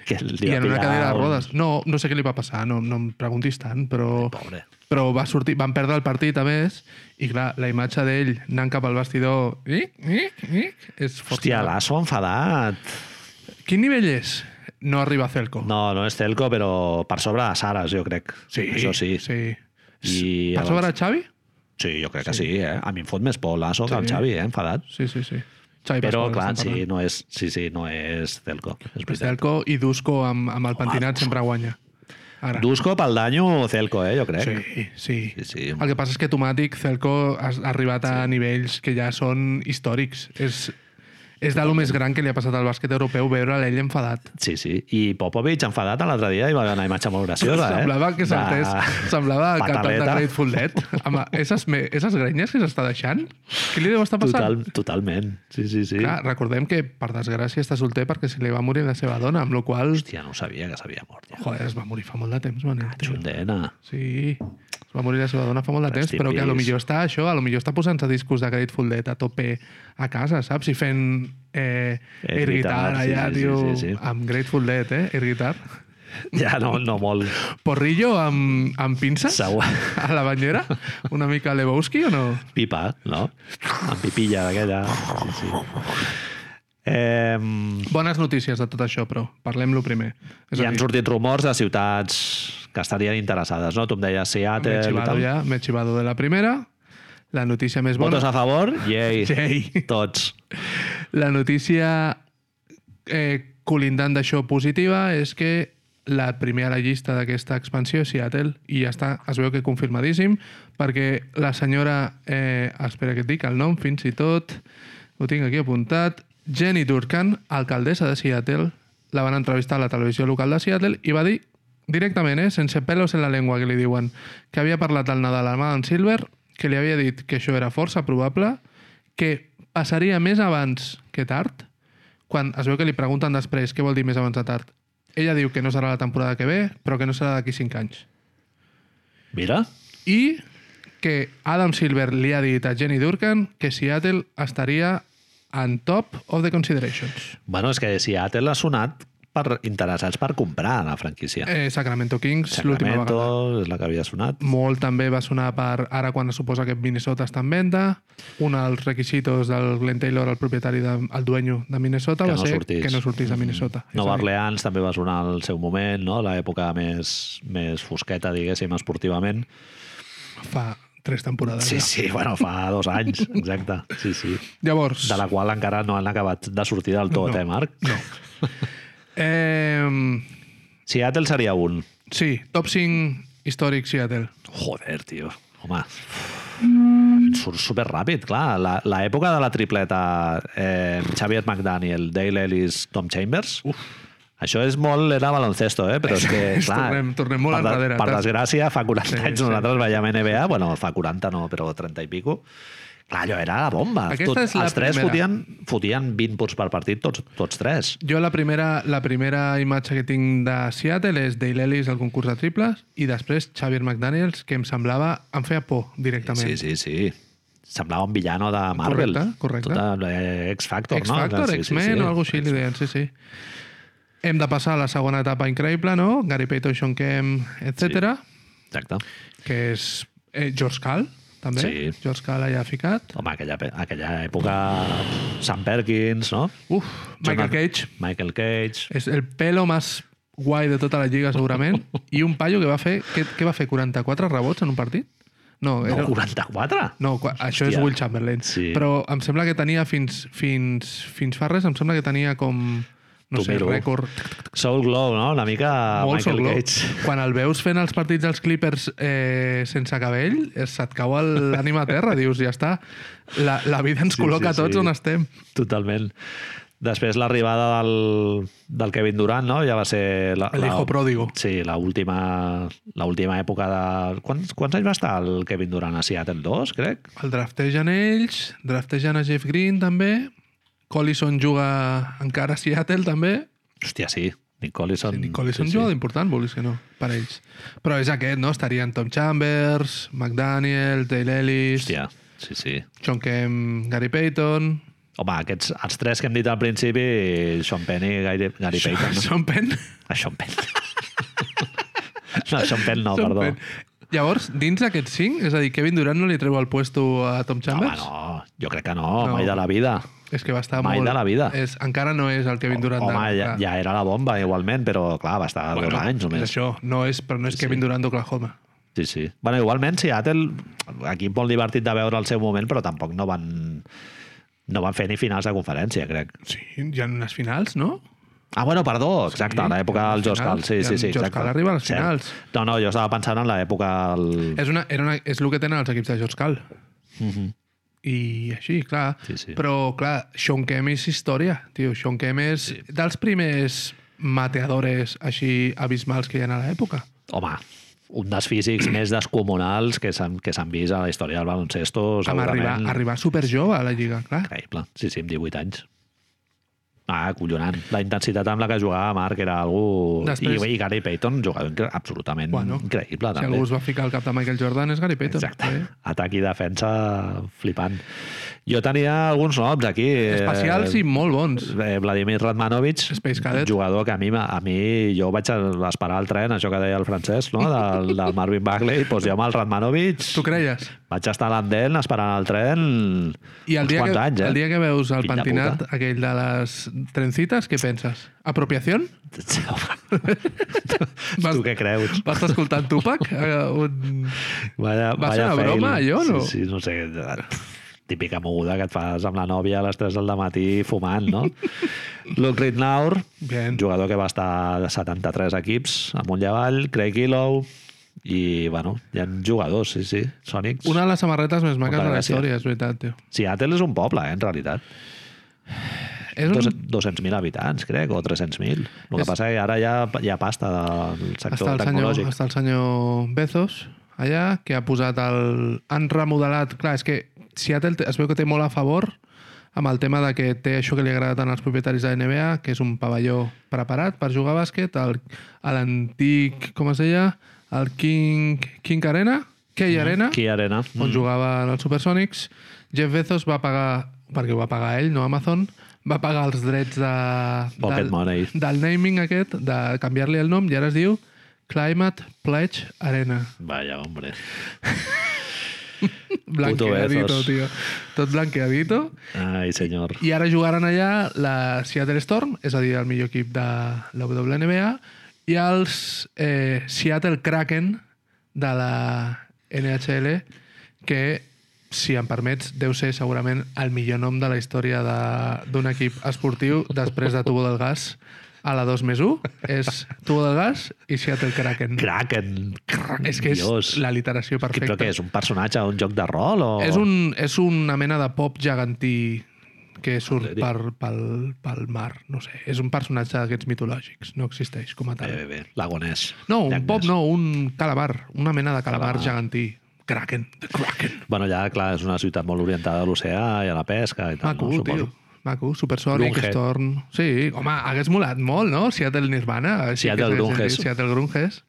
A: Que li
B: i
A: va
B: en una
A: pillar
B: cadira de
A: un-
B: rodes. No, no sé què li va passar, no, no em preguntis tant, però...
A: Pobre.
B: Però va sortir, van perdre el partit, a més, i clar, la imatge d'ell anant cap al vestidor... Ic, ic, ic, és força.
A: Hòstia, Lasso enfadat.
B: Quin nivell és? No arriba a Celco.
A: No, no és Telco, però per sobre de Saras, jo crec. Això sí. Sí,
B: sí.
A: I
B: per sobre de Xavi?
A: sí jo crec que sí, eh? A mi em fot més por Lasso que el
B: Sí.
A: Xavi, eh? Enfadat.
B: Sí, sí, sí. Xavi
A: Però,
B: Pasqual,
A: clar,
B: estem
A: sí,
B: parlant.
A: no és, sí, sí, no és Telco. És
B: Pues
A: veritat.
B: Celco i Dusko amb, amb el pentinat sempre guanya. Ara.
A: Dusko, Paldanyo, Celco, eh? Jo crec.
B: Sí, sí.
A: Sí, sí.
B: El que passa és que Tomàtic, Celco, ha ha arribat a nivells que ja són històrics. És, és de lo més gran que li ha passat al bàsquet europeu veure l'ell enfadat.
A: Sí, sí. I Popovic, enfadat, l'altre dia hi va haver una imatge molt graciosa, eh?
B: semblava que saltés, semblava el cantant de
A: Pataleta.
B: Grateful Dead. Home, esses, me, esses grenyes que s'està deixant, què li deu estar passant?
A: Total, totalment. Sí, sí, sí.
B: Clar, recordem que, per desgràcia, està solter perquè se li va morir la seva dona, amb la qual cosa...
A: Hòstia, Ah, no sabia que s'havia mort. Ja.
B: Joder, es va morir fa molt de temps, Manel. tio.
A: Xundena.
B: Sí, es va morir la seva dona fa molt de
A: Rest
B: temps,
A: in
B: però que a lo
A: peace.
B: millor està això, a lo millor està posant-se discos de Grateful Dead a tope a casa, saps? I fent eh,
A: Air
B: air
A: guitar,
B: guitar
A: sí,
B: allà,
A: sí,
B: tio,
A: sí, sí, sí.
B: amb Grateful Dead, eh? Air guitar.
A: Ja no, no molt.
B: Porrillo amb, amb pinces
A: Segur.
B: a la banyera? Una mica Lebowski o no?
A: Pipa, no? Amb pipilla d'aquella. Sí, sí. Eh,
B: Bones notícies de tot això, però parlem-lo primer.
A: I han sortit rumors de ciutats que estarien interessades, no? Tu em deies
B: me he
A: Seattle i
B: chivado
A: tal.
B: ja, me he chivado de la primera. La notícia més bona...
A: Votos a favor? Yay.
B: Yay.
A: Tots.
B: La notícia eh, colindant d'això positiva és que la primera llista d'aquesta expansió és Seattle i ja està, es veu que confirmadíssim perquè la senyora eh, espera que et dic el nom fins i tot ho tinc aquí apuntat Jenny Durkan, alcaldessa de Seattle la van entrevistar a la televisió local de Seattle i va dir directament, eh, sense pelos en la llengua que li diuen que havia parlat al Nadal amb Adam Silver que li havia dit que això era força probable que passaria més abans que tard, quan es veu que li pregunten després què vol dir més abans de tard. Ella diu que no serà la temporada que ve, però que no serà d'aquí 5 anys.
A: Mira,
B: I que Adam Silver li ha dit a Jenny Durkan que Seattle estaria en top of the considerations.
A: Bueno, és que Seattle ha sonat per, interessats per comprar la franquícia. Eh,
B: Eh, Sacramento Kings, l'última
A: Sacramento
B: vegada.
A: és la que havia sonat.
B: Molt també va sonar per ara quan suposa que Minnesota està en venda. Un dels requisitos del Glenn Taylor, el propietari, de, el dueño de Minnesota,
A: Que
B: va
A: no
B: ser
A: sortís. Mm.
B: que no sortís de Minnesota. És
A: Nova
B: a dir,
A: Orleans també va sonar al seu moment, no? l'època més, més fosqueta, diguéssim, esportivament.
B: Fa tres temporades.
A: Sí,
B: ja.
A: sí, bueno, fa dos anys, exacte. Sí, sí.
B: Llavors,
A: De la qual encara no han acabat de sortir del tot,
B: No,
A: eh, Marc?
B: no. eh,
A: Seattle seria un.
B: sí, top 5 històric Seattle.
A: Joder, tio. Home,
B: Mm.
A: em surt superràpid, clar. La- L'època de la tripleta eh, Xavier McDaniel, Dale Ellis, Tom Chambers... Uf. Això és molt era baloncesto, eh? però és que,
B: És-
A: clar,
B: tornem- tornem molt
A: per, de-
B: enrere.
A: per desgràcia, fa 40
B: Sí,
A: sí, anys
B: sí.
A: nosaltres veiem NBA, bueno, fa 40 no, però 30 i pico, clar, allò era la bomba.
B: Aquesta és la
A: els tres
B: primera.
A: fotien, fotien 20 punts per partit, tots, tots tres.
B: Jo la primera, la primera imatge que tinc de Seattle és Dale Ellis al concurs de triples i després Xavier McDaniels, que em semblava... Em feia por, directament.
A: Sí, sí, sí. Semblava un villano de Marvel.
B: Correcte, correcte.
A: Tot, eh, X-Factor, no?
B: X-Factor,
A: Sí, sí,
B: X-Men o alguna cosa així, li deien, sí, sí. Hem de passar a la segona etapa increïble, no? Gary Payton, Sean Kemp, etc.
A: Exacte.
B: Sí. Que és eh, George Cal, també.
A: Sí.
B: George Cal allà ficat.
A: Home, aquella, pe- aquella època... Sam Perkins, no?
B: Uf, Michael
A: Jonathan-
B: Cage. Eh,
A: Michael Cage.
B: És el pelo més guai de tota la lliga, segurament. I un paio que va fer... Què, què va fer? 44 rebots en un partit? No,
A: No,
B: era...
A: 44?
B: No, qua- això és
A: Hòstia.
B: Will Chamberlain.
A: Sí.
B: Però em sembla que tenia fins, fins, fins fa res, em sembla que tenia com...
A: T'ho
B: No sé,
A: miro.
B: rècord...
A: Soul Glow, no? Una mica
B: Molt
A: Ah, Michael
B: sogló.
A: Cage.
B: Quan el veus fent els partits dels Clippers eh, sense cabell, eh, se't cau el- l'ànima a terra, dius, ja està. La, la vida ens
A: Sí,
B: col·loca
A: sí,
B: a tots
A: sí.
B: on estem.
A: Totalment. Després l'arribada del, del Kevin Durant, no? Ja va ser... La,
B: El hijo pródigo.
A: Sí, l'última l'última època de... Quants, quants anys va estar el Kevin Durant a Seattle? Dos, crec?
B: El draftegen ells, draftegen a Jeff Green, també. Collison juga encara a Seattle, també.
A: Hòstia, sí. Nick Collison.
B: Nick Collison sí, juga d'important, vulguis que no, per ells. Però és aquest, no? Estarien Tom Chambers, McDaniel, Dale Ellis,
A: Hòstia, sí, sí.
B: John Kemp, Gary Payton,
A: Home, aquests, els tres que hem dit al principi, Sean Penn i Gary, Gary Payton. no?
B: Sean Penn...
A: A Sean Penn. no, Sean Penn no,
B: Sean
A: perdó.
B: Penn. Llavors, dins d'aquests cinc, és a dir, Kevin Durant no li treu el puesto a Tom
A: Home,
B: Chambers?
A: no, jo crec que no,
B: No.
A: no. mai de la vida.
B: És que va estar
A: Mai
B: molt...
A: de la vida.
B: És, encara no és el Kevin Durant.
A: Home,
B: de...
A: ja, ja era la bomba igualment, però clar, va estar bueno, dos anys
B: És
A: només.
B: això, no és, però no és Kevin Durant d'Oklahoma.
A: Sí, sí. Bueno, igualment, Seattle, aquí molt divertit de veure el seu moment, però tampoc no van, no van fer ni finals de conferència, crec.
B: Sí, hi ha unes finals, no?
A: Ah, bueno, perdó, exacte,
B: Sí,
A: sí, l'època
B: les
A: del Josh Cal.
B: finals,
A: Sí,
B: i
A: sí,
B: el
A: sí,
B: Josh
A: exacte.
B: Karl arriba a les
A: Cert.
B: finals.
A: No, no, jo estava pensant en l'època del...
B: És, una, era una, és el que tenen els equips de George Cal. I així, clar.
A: Mhm. Sí, sí.
B: Però, clar, Sean Kemp és història, tio. Sean Kemp és sí. dels primers mateadores així abismals que hi ha a l'època.
A: Home, un dels físics més descomunals que s'han que s'han vist a la història del baloncesto,
B: Amb arribar,
A: segurament.
B: arribar superjove a la Lliga, clar.
A: Increïble. Sí, sí, amb 18 anys. Ah, collonant. La intensitat amb la que jugava Marc era algú...
B: Després-
A: Després... I, I Gary Payton jugava incre... absolutament
B: Bueno,
A: bueno, increïble,
B: Si
A: també.
B: algú es va ficar al cap de Michael Jordan és Gary Payton.
A: Exacte.
B: Eh?
A: Atac i defensa flipant. Jo tenia alguns noms aquí.
B: Especials i molt bons.
A: Eh, Vladimir Radmanovic,
B: Space Cadet.
A: jugador que a mi, m'ha- a mi jo vaig esperar el tren, això que deia el francès, no? del, del Marvin Bagley, doncs jo amb el Radmanovic
B: Tu creies?
A: vaig estar a l'Andel esperant el tren
B: I el
A: uns
B: dia,
A: quants
B: que,
A: anys. Eh?
B: el dia que veus el
A: Fill de
B: pentinat
A: puta.
B: aquell de les trencites, què penses? Apropiació? Vas-
A: tu què creus?
B: Vas escoltant Tupac? Eh, Un...
A: Valla,
B: Va ser
A: valla
B: una
A: fail.
B: broma, allò, no?
A: Sí, sí, no sé, típica moguda que et fas amb la nòvia a les 3 del matí fumant, no? Luke Ritnaur,
B: Bien.
A: jugador que va estar de 73 equips, amunt i avall, Craig Illow, i, bueno, hi ha jugadors, sí, sí, Sonics.
B: Una de les samarretes més maques
A: Molta
B: de la
A: gràcia.
B: història, és veritat, tio.
A: Seattle és un poble, eh, en realitat.
B: És
A: Dos-
B: un...
A: 200.000 habitants, crec, o 300.000. El que
B: És-
A: passa que ara hi ha, hi ha pasta del
B: Està
A: sector
B: el, senyor,
A: tecnològic.
B: està el senyor Bezos allà, que ha posat el... Han remodelat... Clar, és que Seattle té- es veu que té molt a favor amb el tema de que té això que li agrada tant als propietaris de la NBA, que és un pavelló preparat per jugar a bàsquet, el- a l'antic, com es deia? El King, King Arena? Key
A: Mm-hmm.
B: Arena?
A: Qui Arena. Mm.
B: on jugaven els Supersonics. Jeff Bezos va pagar, perquè ho va pagar ell, no Amazon, va pagar els drets de,
A: Pocket
B: del,
A: money.
B: del naming aquest, de canviar-li el nom, i ara es diu Climate Pledge Arena.
A: Vaya, hombre.
B: Blanqueadito,
A: Bezos.
B: tio. Tot blanqueadito.
A: Ai, senyor.
B: I ara jugaran allà la Seattle Storm, és a dir, el millor equip de la WNBA, i els eh, Seattle Kraken de la NHL, que, si em permets, deu ser segurament el millor nom de la història de- d'un equip esportiu després de Tubo del Gas a la 2 més 1. És Tubo del Gas i Seattle Kraken.
A: Kraken. Kraken.
B: és que és
A: Dios.
B: la literació
A: Qui-
B: perfecta.
A: Però què, és un personatge, un joc de rol? O...
B: És, un, és una mena de pop gegantí que surt
A: Entendi.
B: per, pel, pel mar, no sé. És un personatge d'aquests mitològics, no existeix com a
A: Bé,
B: tal.
A: bé, bé. L'agonès.
B: No, un
A: Llagnès.
B: pop no, un calamar, una mena de calamar
A: Calamar.
B: gegantí. Kraken, the Kraken.
A: Bueno, ja, clar, és una ciutat molt orientada a l'oceà i a la pesca i tal,
B: Maco,
A: no,
B: Ah, tio.
A: suposo.
B: Maco, Supersonic,
A: Grunge.
B: Storm... Sí, home, hagués molat molt, no? Seattle Nirvana. així que
A: Seattle
B: s'hagués
A: Grunges.
B: dit Seattle Grunges.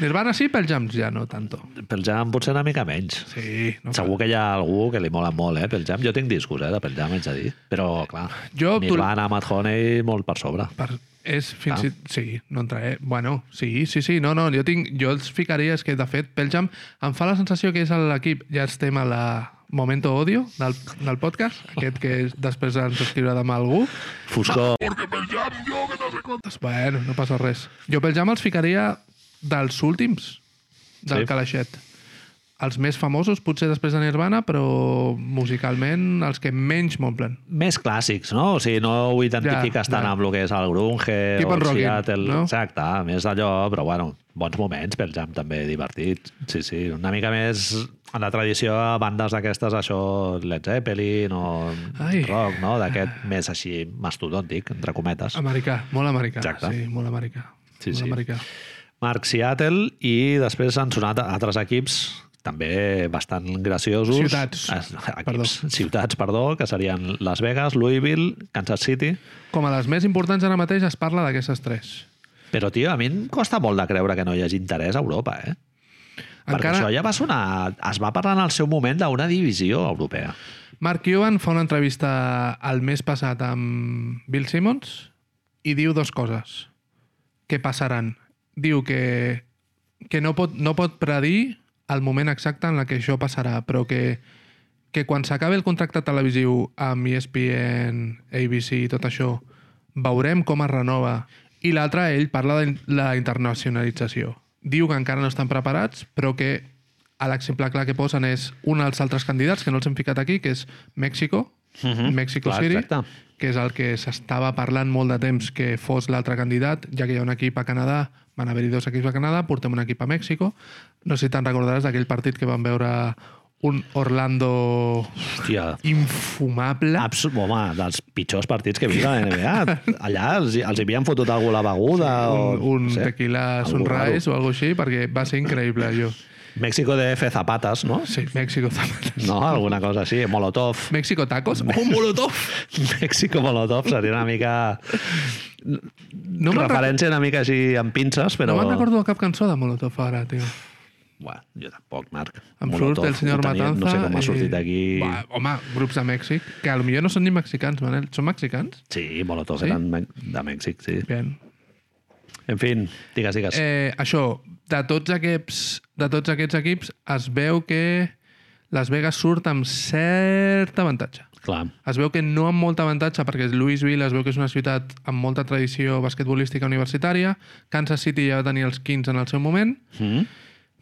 B: Nirvana sí, pel Jams ja no tanto.
A: Pel jam potser una mica menys.
B: Sí, no
A: Segur que hi ha algú que li mola molt, eh, pel jam. Jo tinc discos, eh, de pel jam, haig de dir. Però, clar,
B: Jo, tu-
A: Nirvana, Mad Honey, molt per sobre.
B: Per, és fins
A: Ah.
B: ah. i... Sí, no entraré. Bueno, sí, sí, sí. No, no, jo, tinc, jo els ficaria, és que, de fet, Pearl Jam em fa la sensació que és l'equip... Ja estem a la Momento Odio del, del podcast, aquest que és, després ens escriurà demà algú.
A: Foscor,
B: Ah. Doncs, bueno, no passa res. Jo Pearl Jam els ficaria dels últims
A: Sí.
B: del sí. calaixet. Els més famosos, potser després de Nirvana, però musicalment els que menys m'omplen.
A: més clàssics, no? O sigui, no ho identifiques
B: Ja,
A: tant
B: ja.
A: amb el que és el grunge
B: Keep
A: o
B: on
A: el
B: rocking,
A: Seattle.
B: no?
A: Exacte, més d'allò, però bueno, bons moments pel jam també, divertit. Sí, sí, una mica més en la tradició a bandes d'aquestes, això, Led Zeppelin o
B: Ai.
A: rock, no? D'aquest més així mastodòntic, entre cometes.
B: Americà, molt americà.
A: Exacte.
B: Sí, molt americà.
A: Sí,
B: molt
A: sí.
B: americà.
A: Marc Seattle i després han sonat altres equips també bastant graciosos.
B: Ciutats.
A: Es- Equips,
B: Perdó.
A: Ciutats, perdó, que serien Las Vegas, Louisville, Kansas City.
B: Com a les més importants ara mateix es parla d'aquestes tres.
A: Però, tio, a mi em costa molt de creure que no hi hagi interès a Europa, eh? Perquè
B: Encara,
A: això ja va sonar... Es va parlar en el seu moment d'una divisió europea.
B: Mark Cuban fa una entrevista el mes passat amb Bill Simmons i diu dues coses que passaran. Diu que, que no, pot, no pot predir el moment exacte en la que això passarà, però que, que quan s'acabi el contracte televisiu amb E ESPN, ABC i tot això, veurem com es renova. I l'altre, ell parla de la internacionalització. Diu que encara no estan preparats, però que a l'exemple clar que posen és un dels altres candidats, que no els hem ficat aquí, que és Mèxico, uh -huh. Mexico
A: Mhm. clar,
B: City,
A: exacte.
B: que és el que s'estava parlant molt de temps que fos l'altre candidat, ja que hi ha un equip a Canadà, van haver-hi dos equips a Canadà, portem un equip a Mèxico. No sé si te'n recordaràs d'aquell partit que vam veure un Orlando
A: Hòstia,
B: infumable.
A: Abs home, dels pitjors partits que he vist a la NBA. Allà els, els hi havien fotut algú la beguda
B: un,
A: o...
B: un
A: no sé,
B: tequila
A: algú raro.
B: sunrise o alguna així, perquè va ser increïble, jo.
A: México de F Zapatas, no?
B: Sí, Mèxico Zapatas.
A: No, alguna cosa així, Molotov.
B: Mèxico tacos? Oh, molotov!
A: Mèxico Molotov seria una mica...
B: No me'n recordo,
A: referència una mica així amb pinces, però...
B: no me'n recordo de cap cançó de molotov ara, tio.
A: Buah, jo tampoc, Marc.
B: Em
A: Molotov,
B: surt el senyor
A: ho tenia-
B: Matanza...
A: No sé com ha sortit
B: i-
A: aquí...
B: Bah, home, grups de Mèxic, que a lo millor no són ni mexicans, Manel. Són mexicans?
A: Sí, Molotov
B: Sí?
A: eren me- de Mèxic, sí.
B: Bien.
A: En fin, digues, digues.
B: Eh, això, de tots, aquests, de tots aquests equips es veu que Las Vegas surt amb cert avantatge.
A: Clar,
B: Es veu que no amb molt avantatge, perquè Louisville es veu que és una ciutat amb molta tradició basquetbolística universitària. Kansas City ja va tenir els 15 en el seu moment.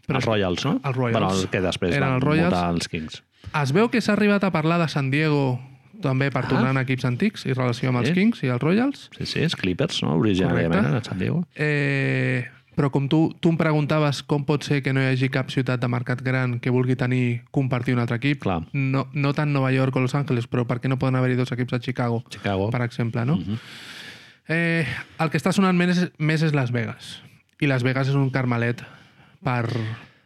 A: però els Royals, no?
B: Els Royals.
A: Bueno, el que després
B: Eren
A: van
B: els Royals.
A: mutar els Kings.
B: Es veu que s'ha arribat a parlar de San Diego també per tornar en equips antics i relació amb els
A: Sí.
B: Kings i els Royals.
A: Sí, sí, els Clippers, no? Originalment,
B: Correcte.
A: en San Diego.
B: Eh, però com tu, tu em preguntaves com pot ser que no hi hagi cap ciutat de mercat gran que vulgui tenir compartir un altre equip,
A: Clar.
B: no, no tant Nova York o Los Angeles, però per què no poden haver-hi dos equips a Chicago,
A: Chicago. Mhm.
B: per exemple, no? eh, el que està sonant més, més és Las Vegas. I Las Vegas és un carmelet per,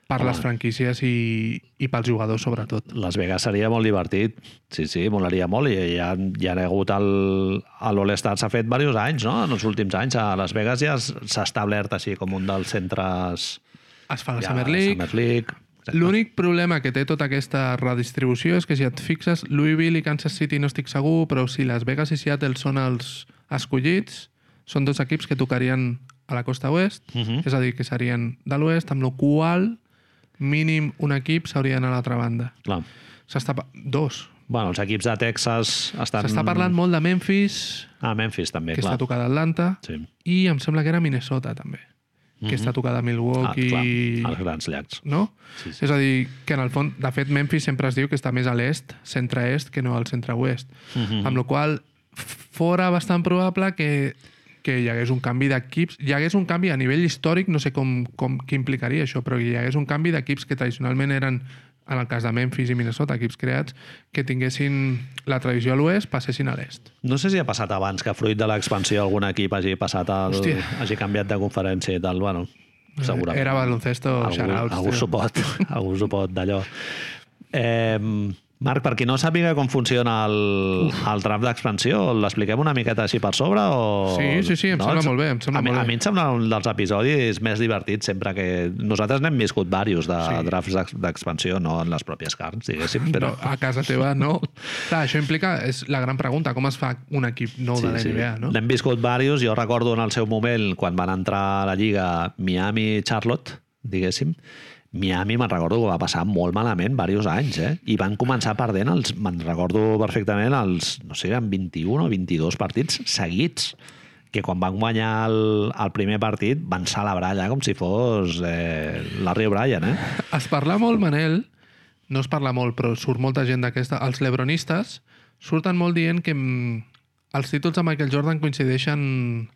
B: per les franquícies i, i pels jugadors, sobretot.
A: Las Vegas seria molt divertit. Sí, sí, molaria molt. I ja, ja ha hagut el... a l'All-Star s'ha fet diversos anys, no? En els últims anys. A Las Vegas ja s- s'ha establert així com un dels centres...
B: Es fa la
A: ja,
B: Summer League,
A: Summer League.
B: L'únic problema que té tota aquesta redistribució és que si et fixes, Louisville i Kansas City no estic segur, però si Las Vegas i Seattle són els escollits, són dos equips que tocarien a la costa oest,
A: Mhm.
B: és a dir, que serien de l'oest, amb la qual mínim un equip s'hauria d'anar a l'altra banda.
A: Clar.
B: S'està... pa- Dos.
A: Bueno, els equips de Texas estan...
B: S'està parlant molt de Memphis,
A: Ah, Memphis també,
B: que
A: Mm. clar.
B: està tocada a Atlanta,
A: Sí. Mhm.
B: i em sembla que era Minnesota, també, que està tocada a
A: Ah, clar,
B: Milwaukee...
A: els grans llacs.
B: no? Sí, sí. És a dir, que en el fons, de fet, Memphis sempre es diu que està més a l'est, centre-est, que no al centre-oest. Mm -hmm. Amb la qual f- fora bastant probable que, que hi hagués un canvi d'equips, hi hagués un canvi a nivell històric, no sé com, com què implicaria això, però que hi hagués un canvi d'equips que tradicionalment eren en el cas de Memphis i Minnesota, equips creats, que tinguessin la tradició a l'oest, passessin a l'est.
A: No sé si ha passat abans que fruit de l'expansió algun equip hagi passat al,
B: Hòstia.
A: hagi canviat de conferència i tal. Bueno, segurament.
B: Era baloncesto,
A: algú,
B: shoutouts,
A: algú
B: tio.
A: s'ho pot, algú s'ho pot d'allò. Eh, Marc, per qui no sàpiga com funciona el, el draft d'expansió, l'expliquem una miqueta així per sobre? O...
B: Sí, sí, sí, em sembla molt bé, em sembla
A: a, mi-
B: molt
A: a
B: bé.
A: mi em sembla un dels episodis més divertits sempre que... Nosaltres n'hem viscut diversos de sí. drafts d'ex- d'expansió, no en les pròpies carns, diguéssim, però...
B: No, a casa teva no. Clar, això implica, és la gran pregunta, com es fa un equip nou de la NBA, no?
A: N'hem viscut diversos. Jo recordo en el seu moment, quan van entrar a la Lliga Miami-Charlotte, diguéssim, Miami, me'n recordo que va passar molt malament diversos anys, eh? I van començar perdent, els, me'n recordo perfectament, els, no sé, eren 21 o 22 partits seguits que quan van guanyar el, el primer partit van celebrar allà com si fos eh, Larry O'Brien, eh?
B: Es parla molt, Manel, no es parla molt, però surt molta gent d'aquesta. Els lebronistes surten molt dient que mm, els títols de Michael Jordan coincideixen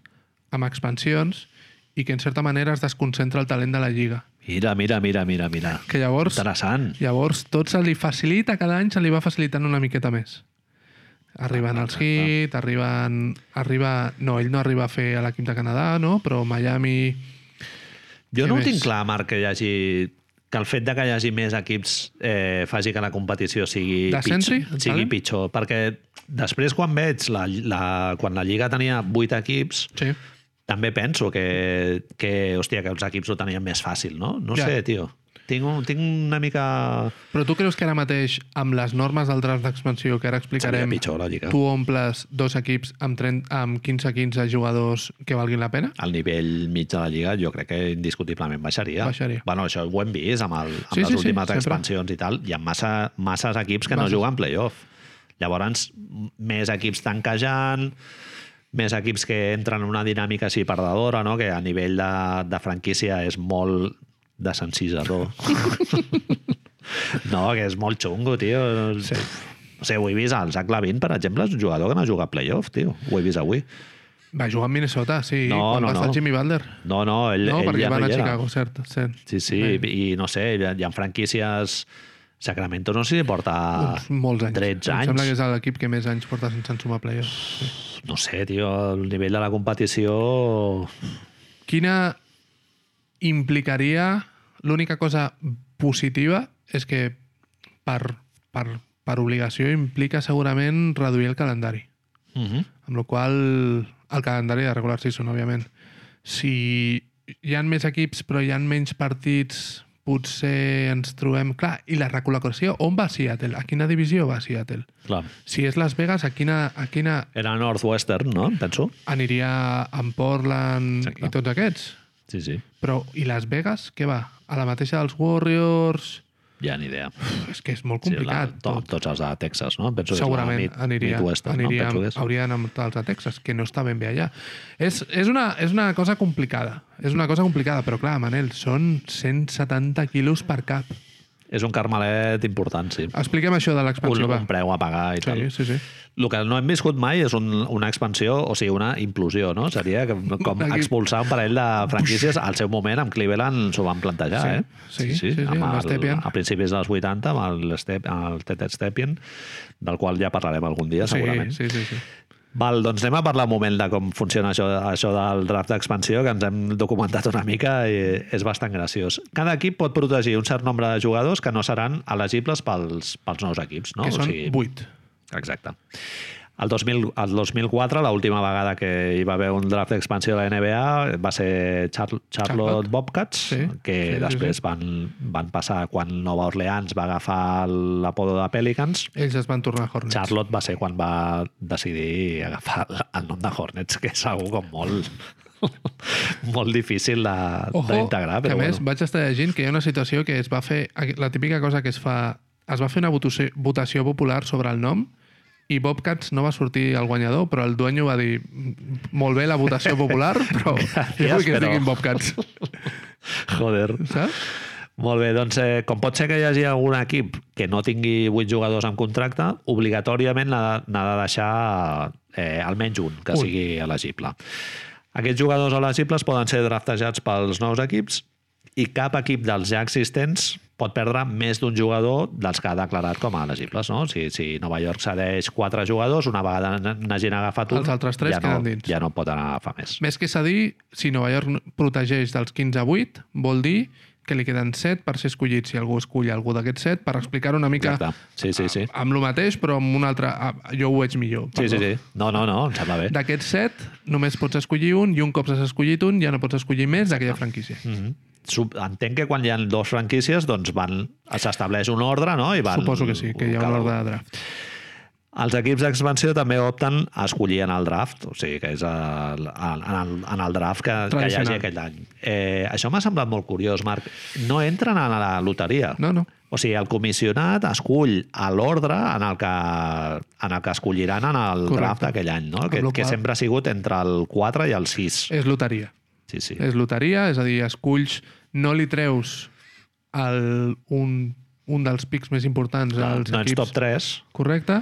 B: amb expansions i que en certa manera es desconcentra el talent de la Lliga.
A: Mira, mira, mira, mira, mira.
B: Que llavors,
A: Interessant.
B: llavors tot se li facilita, cada any se li va facilitant una miqueta més. Arriben els Heat, arriben... Arriba, no, ell no arriba a fer a l'equip de Canadà, no? Però Miami...
A: Jo
B: Què
A: no ho
B: més?
A: tinc clar, Marc, que hi hagi que el fet de que hi hagi més equips eh, faci que la competició sigui,
B: Descensi,
A: pitjor,
B: et
A: sigui
B: parlen?
A: pitjor. Perquè després, quan veig la, la, quan la Lliga tenia 8 equips,
B: Sí.
A: també penso que, que, hòstia, que els equips ho tenien més fàcil, no? No
B: Ja.
A: sé, tio. Tinc, un, tinc una mica...
B: Però tu creus que ara mateix, amb les normes del draft d'expansió que ara
A: Seria
B: explicarem,
A: pitjor, la Lliga.
B: tu omples dos equips amb 30 amb 15-15 jugadors que valguin la pena?
A: El nivell mig de la Lliga jo crec que indiscutiblement baixaria.
B: Baixaria.
A: Bueno, això ho hem vist amb, el, amb
B: Sí,
A: sí, les
B: sí, sí,
A: sí, últimes
B: sempre.
A: sí, expansions i tal. Hi ha massa, masses equips que
B: Masses.
A: no juguen playoff. Llavors, m- més equips tanquejant, més equips que entren en una dinàmica així perdedora, no? que a nivell de, de franquícia és molt desensisador. no, que és molt xungo, tio. Sí. No sé, ho he vist al Zach Lavin, per exemple, és un jugador que no juga a playoff, tio. Ho he vist avui.
B: Va jugar amb Minnesota, sí,
A: No,
B: quan
A: no,
B: va estar
A: no.
B: Jimmy Butler.
A: No, no, ell,
B: no,
A: ell
B: perquè
A: ja
B: van
A: no
B: a
A: hi era.
B: Chicago, cert, cert. Eh,
A: Sí, sí,
B: Bé,
A: i no sé, hi ha- hi ha franquícies... Sacramento no sé si porta
B: uns molts anys.
A: 13
B: Em
A: anys.
B: sembla que és l'equip que més anys porta sense sumar playoffs.
A: No sé, tio, el nivell de la competició...
B: Quina implicaria... L'única cosa positiva és que per, per, per obligació implica segurament reduir el calendari.
A: Uh -huh.
B: Amb la qual cosa, el calendari de regular season, òbviament. Si hi han més equips però hi han menys partits, potser ens trobem... Clar, i la recol·locació, on va Seattle? A quina divisió va Seattle?
A: Clar.
B: Si és Las Vegas, a quina, a quina
A: Era Northwestern, no? Em Penso.
B: aniria amb Portland
A: Exacte.
B: i tots aquests?
A: Sí, sí.
B: Però, i Las Vegas, què va? A la mateixa dels Warriors...
A: Ja ni idea.
B: Puf, és que és molt
A: Sí, la, tota
B: complicat.
A: to, tots els de Texas, no? Em Penso que és la
B: Segurament
A: Mid-
B: aniria,
A: Midwestern,
B: aniria
A: no? Em
B: amb,
A: Penso que és.
B: hauria d'anar amb els de Texas, que no està ben bé allà. És, és, una, és una cosa complicada. És una cosa complicada, però clar, Manel, són 170 quilos per cap.
A: és un carmelet important, sí.
B: Expliquem això de
A: Un,
B: l'expansió. Ah, va.
A: un preu a pagar i tal.
B: Sí, sí, sí.
A: El que no hem viscut mai és un, una expansió, o sigui, una implosió, no? Seria que, com
B: Aquí.
A: expulsar un parell de franquícies. Al seu moment, amb Cleveland s'ho van plantejar,
B: Sí,
A: eh?
B: sí, sí, sí,
A: amb
B: amb
A: el,
B: Stepien.
A: a principis dels 80, amb el, Step, el Ted Stepien, del qual ja parlarem algun dia, segurament.
B: Sí, sí, sí. sí.
A: Val, doncs anem a parlar un moment de com funciona això, això del draft d'expansió, que ens hem documentat una mica i és bastant graciós. Cada equip pot protegir un cert nombre de jugadors que no seran elegibles pels, pels nous equips, no?
B: que són 8.
A: Exacte. El, 2000, el 2004, l'última vegada que hi va haver un draft d'expansió de la NBA va ser Char Charlotte
B: Charlotte.
A: Bobcats,
B: Sí,
A: que
B: sí, sí,
A: després
B: sí.
A: Van, van passar quan Nova Orleans va agafar l'apodo de Pelicans.
B: Ells es van tornar Hornets.
A: Charlotte va ser quan va decidir agafar el nom de Hornets, que és algú com molt, molt difícil de- d'integrar.
B: que a
A: però
B: més
A: bueno.
B: vaig estar llegint que hi ha una situació que es va fer, la típica cosa que es fa, es va fer una votació, votació popular sobre el nom i Bobcats no va sortir el guanyador, però el duenyo va dir molt bé la votació popular, però jo vull que
A: però-
B: es diguin Bobcats,
A: Joder.
B: saps?
A: Molt bé, doncs eh, com pot ser que hi hagi algun equip que no tingui 8 jugadors amb contracte, obligatòriament n'ha n'ha de deixar eh, almenys un que
B: Un.
A: sigui elegible. Aquests jugadors elegibles poden ser draftejats pels nous equips i cap equip dels ja existents pot perdre més d'un jugador dels que ha declarat com a elegibles. No? Si, si Nova York cedeix 4 jugadors, una vegada n- n'hagin agafat un,
B: Els altres tres
A: ja, no,
B: queden dins.
A: ja no pot anar a agafar més.
B: Més que cedir, si Nova York protegeix dels 15 a 8, vol dir que li queden 7 per ser escollit, si algú escull algú d'aquests 7, per explicar una mica
A: Exacte. Sí, sí, sí.
B: amb el mateix, però amb un altre... ah, Jo ho veig millor.
A: Sí, sí,
B: perdó.
A: sí. No, no, no, em sembla bé.
B: D'aquests set, només pots escollir un, i un cop s'has escollit un, ja no pots escollir més d'aquella franquícia.
A: Mhm. Sup- Entenc que quan hi ha dues franquícies doncs van s'estableix un ordre, no? I van,
B: Suposo que sí, que hi ha un
A: cada-
B: ordre de draft.
A: Els equips d'expansió també opten a escollir en el draft, o sigui que és el, en, el, en el draft que, que hi hagi
B: Tradicional.
A: aquell any. Eh, això m'ha semblat molt curiós, Marc. No entren a la loteria.
B: No, no.
A: O sigui, el comissionat escull a l'ordre en, el que, en el que escolliran en el
B: Correcte.
A: draft d'aquell any, no? Que,
B: lo
A: que
B: qual- Eh,
A: sempre ha sigut entre el 4 i el 6.
B: És loteria.
A: Sí, sí.
B: És loteria, és a dir, esculls... No li treus el, un, un dels pics més importants als
A: no ets
B: equips.
A: top 3,
B: Correcte.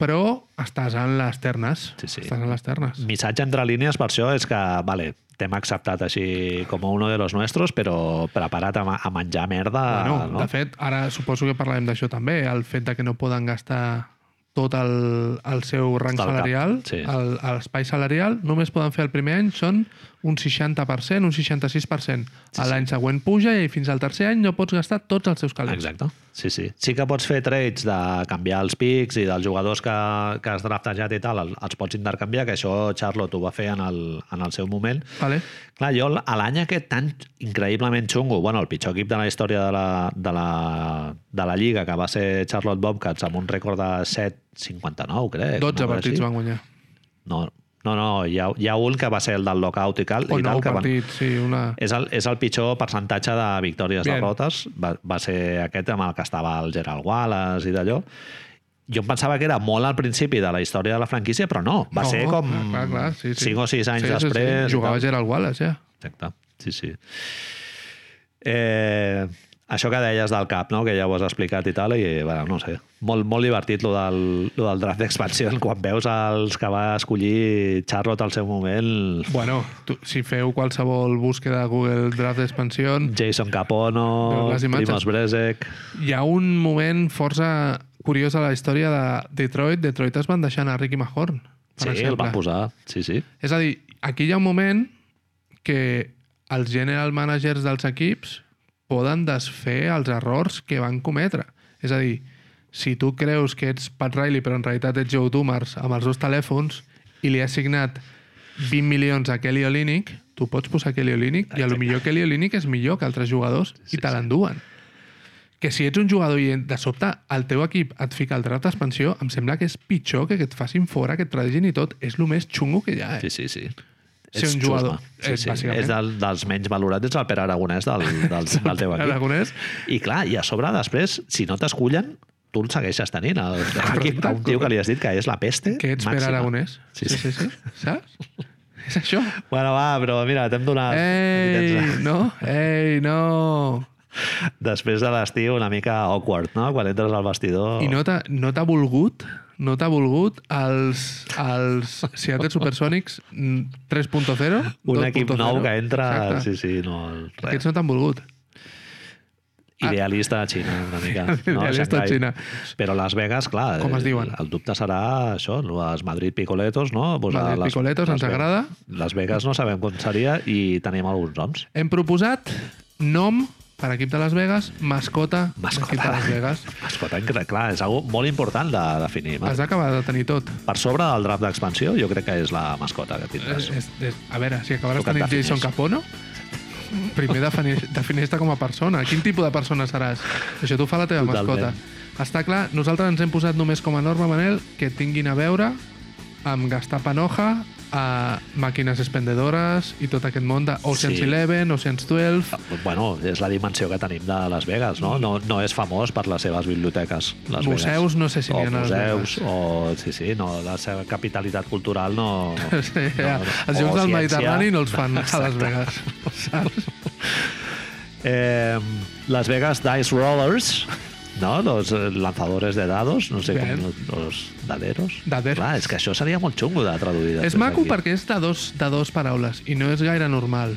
B: Però estàs en les ternes.
A: Sí, sí.
B: Estàs en les ternes.
A: missatge entre línies per això és que, vale, t'hem acceptat així com a uno de los nuestros, però preparat a, ma- a menjar merda,
B: bueno,
A: Ah, no?
B: De fet, ara suposo que parlarem d'això també, el fet de que no poden gastar tot el, el seu rang
A: Està al cap,
B: salarial,
A: sí.
B: el- a l'espai salarial, només poden fer el primer any, són un 60%, un 66%. Sí, L'any següent puja i fins al tercer any no pots gastar tots els seus calés.
A: Exacte. Sí, sí. Sí que pots fer trades de canviar els pics i dels jugadors que, que has draftejat i tal, el- els pots intercanviar, que això Charlotte ho va fer en el, en el seu moment.
B: Vale?
A: Clar, jo l- a l'any aquest tan increïblement xungo, bueno, el pitjor equip de la història de la, de la, de la Lliga, que va ser Charlotte Bobcats, amb un rècord de 7-59, crec.
B: 12
A: una cosa
B: partits
A: així.
B: van guanyar.
A: No, no, no hi, ha, hi ha un que va ser el del lockout i tal.
B: O
A: i tal
B: 9
A: que van...
B: partits, sí, una...
A: És el, és el pitjor percentatge de victòries
B: Bien.
A: derrotes. Va, va ser aquest amb el que estava el Gerald Wallace i d'allò. Jo em pensava que era molt al principi de la història de la franquícia, però no. Va
B: No,
A: ser com
B: clar, clar, clar, sí, sí.
A: 5 o 6 anys
B: sí, sí,
A: després. i
B: Sí. Jugava
A: tal.
B: Gerald Wallace, ja.
A: Exacte, sí, sí. Eh, això que deies del cap, no? que ja ho has explicat i tal, i bueno, no sé, molt, molt divertit lo del, lo del draft d'expansió, quan veus els que va escollir Charlotte al seu moment,
B: Bueno, tu, si feu qualsevol búsqueda a Google Draft d'expansió,
A: Jason Capono,
B: Veus les imatges?
A: Primoz Brezek...
B: Hi ha un moment força curiós a la història de Detroit. Detroit es van deixar anar Ricky Mahorn, per
A: Sí, el
B: exemple.
A: van posar, sí, sí.
B: És a dir, aquí hi ha un moment que els general managers dels equips poden desfer els errors que van cometre. És a dir, si tu creus que ets Pat Riley però en realitat ets Joe Dumars amb els dos telèfons i li has signat 20 milions a Kelly Olynyk, tu pots posar Kelly Olynyk i a lo millor Kelly Olynyk és millor que altres jugadors i te l'enduen. Que si ets un jugador i de sobte el teu equip et fica el draft d'expansió, em sembla que és pitjor que, que et facin fora, que et tradegin i tot. És el més xungo que hi ha, eh?
A: Sí, sí, sí.
B: Ser
A: Ets
B: un jugador.
A: xusma. Sí,
B: Eh,
A: sí.
B: bàsicament.
A: És del, dels menys valorats, ets el Pere Aragonès del, del, del teu equip.
B: Aragonès.
A: I clar, i a sobre, després, si no t'escullen, tu el segueixes tenint. El, aquí,
B: Correcte,
A: un tio que li has dit que és la peste.
B: Que ets Pere
A: màxima.
B: Aragonès.
A: Sí,
B: Sí,
A: sí.
B: sí, sí. Saps? És això.
A: Bueno, va, però mira, t'hem donat...
B: Ei, no? Ei, no!
A: Després de l'estiu una mica awkward, no? Quan entres al vestidor...
B: I no t'ha no t'ha volgut no t'ha volgut els, els Seattle Supersonics mm, 3.0, 2.0.
A: un equip nou que entra...
B: Exacte.
A: Sí, sí, no... Res.
B: Aquests no t'han volgut.
A: Idealista de Xina, una mica.
B: Idealista
A: Shanghai.
B: Xina.
A: Però Las Vegas, clar...
B: Com es diuen?
A: El, el dubte serà això, no? els Madrid Picoletos, no? Pues
B: Madrid
A: a
B: Picoletos, ens
A: Ve-
B: agrada.
A: Las Vegas no sabem com seria i tenim alguns noms.
B: Hem proposat nom per equip de Las Vegas, mascota,
A: Mascota.
B: d'equip de Las Vegas.
A: Mascota, que, clar, és algo molt important de definir.
B: Has d'acabar de tenir tot.
A: Per sobre del draft d'expansió, jo crec que és la mascota que
B: És,
A: tindràs.
B: és, és, a veure, si
A: Tu que
B: acabaràs
A: et
B: tenint
A: defineix.
B: Jason Capono, primer defineix- defineix-te com a persona. Quin tipus de persona seràs? Això t'ho fa la teva
A: Totalment.
B: mascota. Està clar, nosaltres ens hem posat només com a norma, Manel, que tinguin a veure amb gastar panoja, a màquines expendedores i tot aquest món d'Oceans
A: Sí.
B: sí. 11, Oceans 12...
A: Bueno, és la dimensió que tenim de Las Vegas, no? No, no és famós per les seves biblioteques, Las Vegas.
B: Museus, no sé si n'hi
A: o
B: ha a Las
A: museus,
B: Vegas.
A: o... Sí, sí, no, la seva capitalitat cultural no...
B: Sí, ja. Eh,
A: o
B: Els jocs del
A: ciència.
B: Mediterrani no els fan a Las
A: Exacte.
B: Vegas, saps?
A: Eh, Las Vegas Dice Rollers, ¿no? Los eh, lanzadores de dados, no sé,
B: Bien.
A: com los daderos.
B: Daderos.
A: Clar, és que això seria molt xungo de traduir.
B: És
A: després
B: maco
A: aquí.
B: perquè és de dos, de dos paraules i no és gaire normal.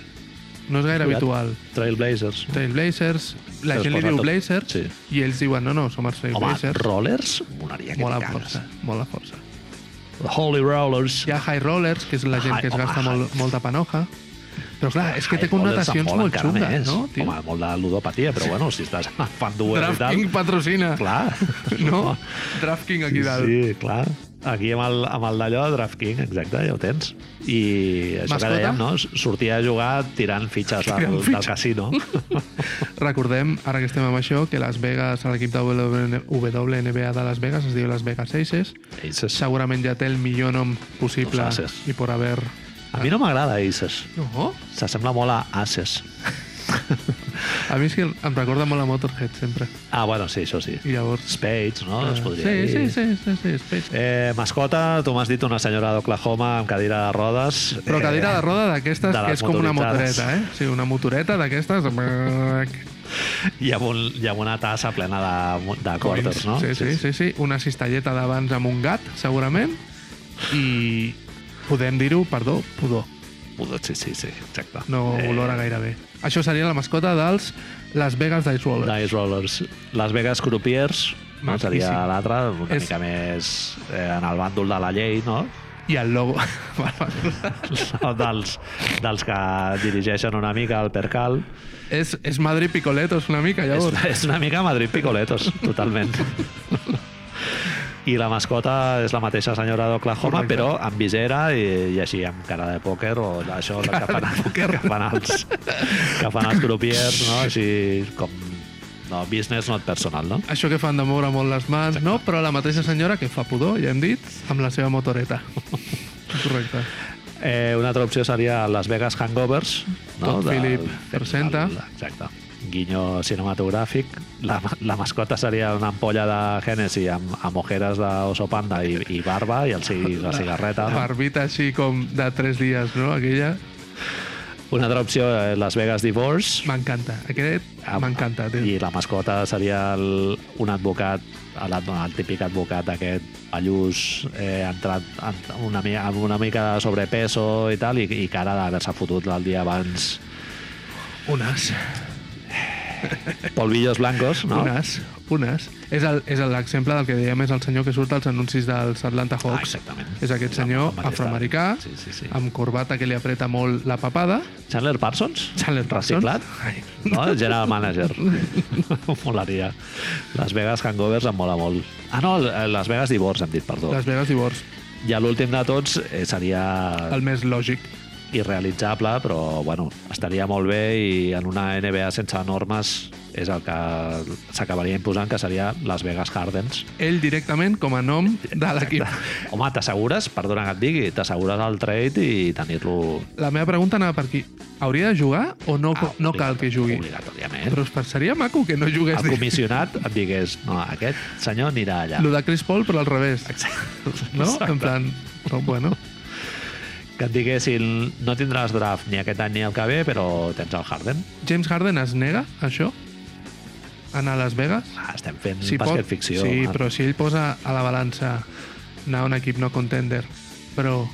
B: No és gaire
A: Cuidat.
B: habitual.
A: Trailblazers.
B: Trailblazers, la
A: Es
B: gent li
A: posa
B: diu
A: tot-
B: Blazers
A: sí.
B: i ells diuen no, no, som els
A: Home,
B: Trailblazers.
A: Rollers, moraria que
B: Mola
A: t'hi cagues.
B: força, mola força.
A: Holy Rollers.
B: Hi ha High Rollers, que és la gent
A: High-
B: que es
A: home,
B: gasta
A: high-
B: molt, molta panoja. Però clar, és que té
A: Ai, Rollers
B: connotacions
A: em mola
B: molt
A: encara
B: xungues,
A: més.
B: no, tio?
A: Home, molt de ludopatia, però bueno, si estàs fan dues i tal...
B: DraftKings patrocina,
A: Clar.
B: no? DraftKings aquí dalt.
A: Sí, clar. Aquí amb el, amb el d'allò de DraftKings, exacte, ja ho tens. I això
B: Mascota?
A: que dèiem, no? Sortia a jugar tirant fitxes del,
B: Tirant
A: del
B: fitxes.
A: casino.
B: Recordem, ara que estem amb això, que Las Vegas, l'equip de WN WNBA de Las Vegas es diu Las Vegas Aces.
A: Aces.
B: Segurament ja té el millor nom possible
A: Los Aces.
B: i por haver...
A: A mi no m'agrada Aces.
B: No?
A: S'assembla molt a Aces.
B: A mi és que em recorda molt a Motorhead, sempre.
A: Ah, bueno, sí, això sí.
B: I llavors...
A: Spades, no? Es podria
B: sí,
A: dir.
B: sí, sí, sí, sí, Space.
A: Eh, mascota, tu m'has dit una senyora d'Oklahoma amb cadira de rodes.
B: Però cadira de roda d'aquestes,
A: Eh, de les
B: que és com una
A: motoritzades.
B: motoreta, eh? Sí, una motoreta d'aquestes...
A: I amb, un, i amb una tassa plena de, de quarters, no?
B: Sí, sí, sí, sí. Una cistelleta d'abans amb un gat, segurament. I podem dir-ho, perdó, pudor.
A: Pudor, Sí, sí, sí, exacte.
B: No eh... olora gaire bé. Això seria la mascota dels Las Vegas Dice Rollers.
A: Dice Rollers. Las Vegas Croupiers, no?
B: Maquíssim.
A: seria l'altre, una
B: És-
A: mica més eh, en el bàndol de la llei, no?
B: I el logo... Val, val.
A: dels, dels que dirigeixen una mica el percal.
B: és, és Madrid Picoletos una mica,
A: És,
B: llavors.
A: és una mica Madrid Picoletos, totalment. I la mascota és la mateixa senyora d'Oklahoma,
B: Correcte.
A: però amb visera i, i així amb cara de pòquer o això que fan, que fan els, que fan els croupiers, no? Així com... No, business not personal, no?
B: Això que fan de moure molt les mans, no? Però la mateixa senyora que fa pudor, ja hem dit, amb la seva motoreta. Correcte.
A: Eh, una altra opció seria Las Vegas Hangovers.
B: Todd Phillips
A: del-
B: presenta.
A: del- Exacte. Guinyo cinematogràfic. La, la mascota seria una ampolla de Hennessy amb, amb ojeres d'oso panda i, i barba i el, ci- la cigarreta. no?
B: Barbita així com de tres dies, no? Aquella.
A: Una altra opció, eh, Las Vegas Divorce.
B: M'encanta. Aquest
A: Amb-
B: m'encanta, tio.
A: Ah, I la mascota seria el, un advocat, el, el típic advocat aquest pallús, eh, entrat en- una, mi- amb una mica de sobrepeso i tal, i, i cara d'haver-se fotut el dia abans
B: Un as.
A: polvillos blancos, no?
B: Un as. Un as. És el- És el- l'exemple del que dèiem, és el senyor que surt als anuncis dels Atlanta
A: Ah,
B: Hawks.
A: exactament.
B: és aquest
A: Amb-
B: senyor
A: amb aquesta-
B: afroamericà,
A: Sí, sí, sí.
B: amb corbata que li apreta molt la papada.
A: Chandler Parsons?
B: Chandler Parsons.
A: Reciclat? No? General Manager. Molaria. Las Vegas Hangovers em mola molt. Ah, no, eh, Las Vegas Divorce, hem dit, perdó.
B: Las Vegas Divorce,
A: I a l'últim de tots eh, seria
B: el més lògic.
A: irrealitzable, però bueno, estaria molt bé i en una NBA sense normes és el que s'acabaria imposant, que seria Las Vegas Hardens.
B: Ell directament com a nom de l'equip.
A: Home, t'assegures, perdona que et digui, t'assegures el trade i tenir-lo
B: La meva pregunta anava per aquí. Hauria de jugar o no,
A: Ah, eh?
B: no cal que jugui?
A: Obligatòriament.
B: Però es seria maco que no jugués.
A: el comissionat et digués no, aquest senyor anirà allà.
B: Lo de Chris Paul, però al revés. No?
A: Exacte.
B: En plan, no, bueno,
A: Que et diguessin no tindràs draft ni aquest any ni el que ve, però tens el Harden.
B: James Harden es nega a això? A Anar a Las Vegas?
A: Ah, estem fent si bàsquet pot, ficció.
B: sí,
A: home.
B: però si ell posa a la balança anar a un equip no contender, però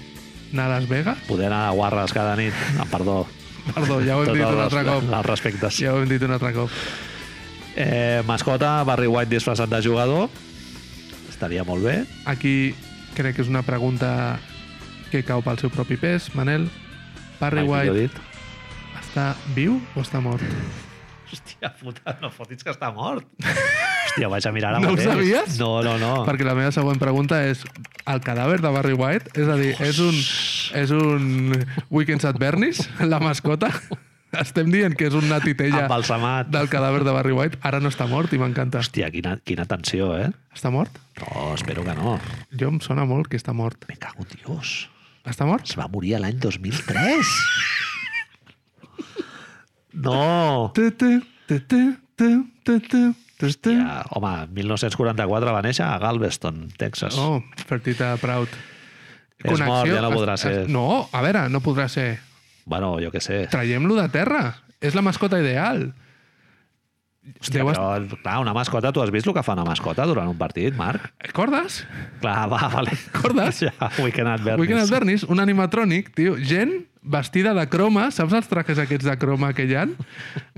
B: anar a Las Vegas?
A: Poder anar a guarres cada nit. Ah, perdó.
B: Perdó, ja ho hem dit un
A: els-
B: altre cop.
A: Els respectes.
B: Ja ho hem dit un altre cop.
A: Eh, mascota, Barry White disfressat de jugador. Estaria molt bé.
B: Aquí crec que és una pregunta que cau pel seu propi pes, Manel. Barry
A: Mai millor
B: White
A: dit.
B: està viu o està mort?
A: Hòstia puta, no fotis que està mort. Hòstia, ho vaig a mirar ara
B: No ho
A: mateix.
B: sabies?
A: No, no, no.
B: Perquè la meva següent pregunta és el cadàver de Barry White? És a dir, és un, és un Weekends at Bernie's, la mascota? Estem dient que és un natitella
A: Embalsamat.
B: del cadàver de Barry White. Ara no està mort i m'encanta.
A: Hòstia, quina, quina tensió, eh?
B: Està mort?
A: No, espero que no.
B: Jo em sona molt que està mort.
A: Me cago en Dios.
B: Està mort?
A: Es va morir l'any 2003. No!
B: Tu, tu, tu, tu, tu, tu, tu, tu, tu.
A: Ja, home, 1944 va néixer a Galveston, Texas.
B: Oh, Fertita Proud.
A: És mort, ja no podrà
B: es-
A: ser.
B: es- No, a veure, no podrà ser.
A: Bueno, jo què sé.
B: Traiem-lo de terra. És la mascota ideal.
A: Hòstia,
B: Deu est-
A: però, clar, una mascota, tu has vist el que fa una mascota durant un partit, Marc?
B: Cordes?
A: Clar, va, vale.
B: Cordes?
A: Ja, Weekend at Bernie's.
B: Weekend at Bernie's, un animatrònic, tio, gent vestida de croma, saps els trajes aquests de croma que hi ha?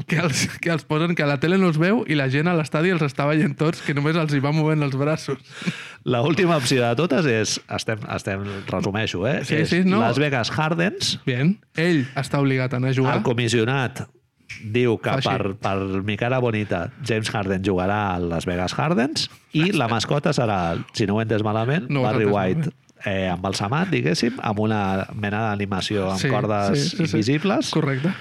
B: Que els, que els posen, que a la tele no els veu i la gent a l'estadi els està veient tots, que només els hi va movent els braços.
A: La última opció de totes és, estem, estem resumeixo, eh?
B: Sí,
A: és
B: sí, no.
A: Las Vegas Hardens,
B: Bien. Ell està obligat a anar a jugar.
A: el comissionat diu que
B: Fa Ah. així.
A: per, per mi cara bonita James Harden jugarà al Las Vegas Hardens i la mascota serà, si no ho he entès malament,
B: No ho
A: no
B: has
A: Barry
B: entès
A: White eh, embalsamat, diguéssim, amb una mena d'animació amb sí, cordes sí, sí, invisibles sí.
B: Correcte.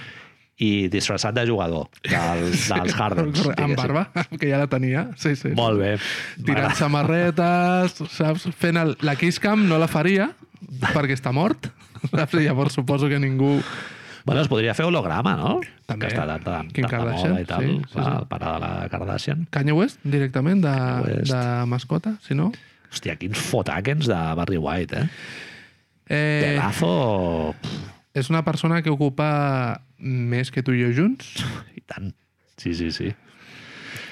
A: i disfressat de jugador del, sí, dels Hardens. diguéssim.
B: Correcte. Amb barba, que ja la tenia. Sí, sí.
A: Molt bé.
B: Tirant samarretes, saps? Fent el, la Kiss Cam no la faria, perquè està mort. Saps? Llavors suposo que ningú...
A: Bueno, es podria fer holograma, no?
B: També.
A: Que està de, de, de,
B: Kim
A: de
B: Kardashian,
A: moda i tal. Sí,
B: sí, sí,
A: sí, clar,
B: sí.
A: El pare de la Kardashian.
B: Kanye West, directament, de,
A: West.
B: de mascota, si no.
A: Hòstia, quins fotàquens de Barry White, eh? eh.
B: Eh,
A: Pelazo...
B: és una persona que ocupa més que tu i jo junts
A: I tant. Sí, sí, sí.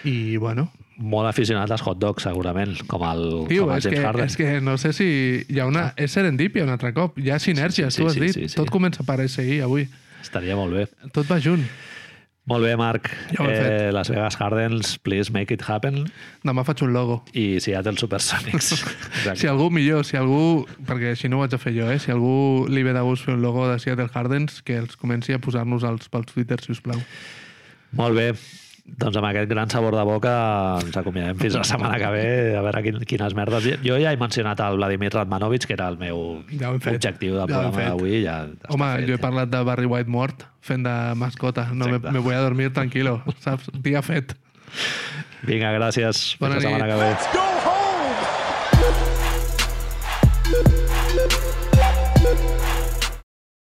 B: i, bueno,
A: Molt aficionat als hot dogs, segurament, com el,
B: tio,
A: com el
B: és
A: James
B: que,
A: Harden. Ah.
B: és que no sé si hi ha una... És serendipia un altre cop, hi ha sinèrgies,
A: Sí, sí,
B: tu has
A: sí,
B: dit.
A: sí, sí.
B: Tot comença per SI avui.
A: Estaria molt bé.
B: Tot va junt.
A: Molt bé, Marc. Eh,
B: Ja ho he fet.
A: Las Vegas Hardens, please make it happen.
B: Demà faig un logo.
A: I Seattle Supersonics.
B: Si algú millor, si algú... Perquè així no ho vaig a fer jo, eh? Si algú li ve de gust fer un logo de Seattle Hardens, que els comenci a posar-nos els pels Twitter, si us plau.
A: Molt bé. Doncs amb aquest gran sabor de boca ens acomiadem fins la setmana que ve a veure quin, quines merdes. Jo ja he mencionat el Vladimir Radmanovich, que era el meu
B: Ja ho hem fet.
A: objectiu del
B: Ja ho
A: programa
B: hem fet.
A: d'avui. Ja està
B: Home,
A: fet,
B: jo he
A: ja.
B: parlat de Barry White mort fent de mascota. No, me,
A: Exacte.
B: me voy a dormir tranquilo, saps? Dia fet.
A: Vinga, gràcies.
B: Bona
A: fins la setmana
B: nit.
A: que ve.
D: Go home!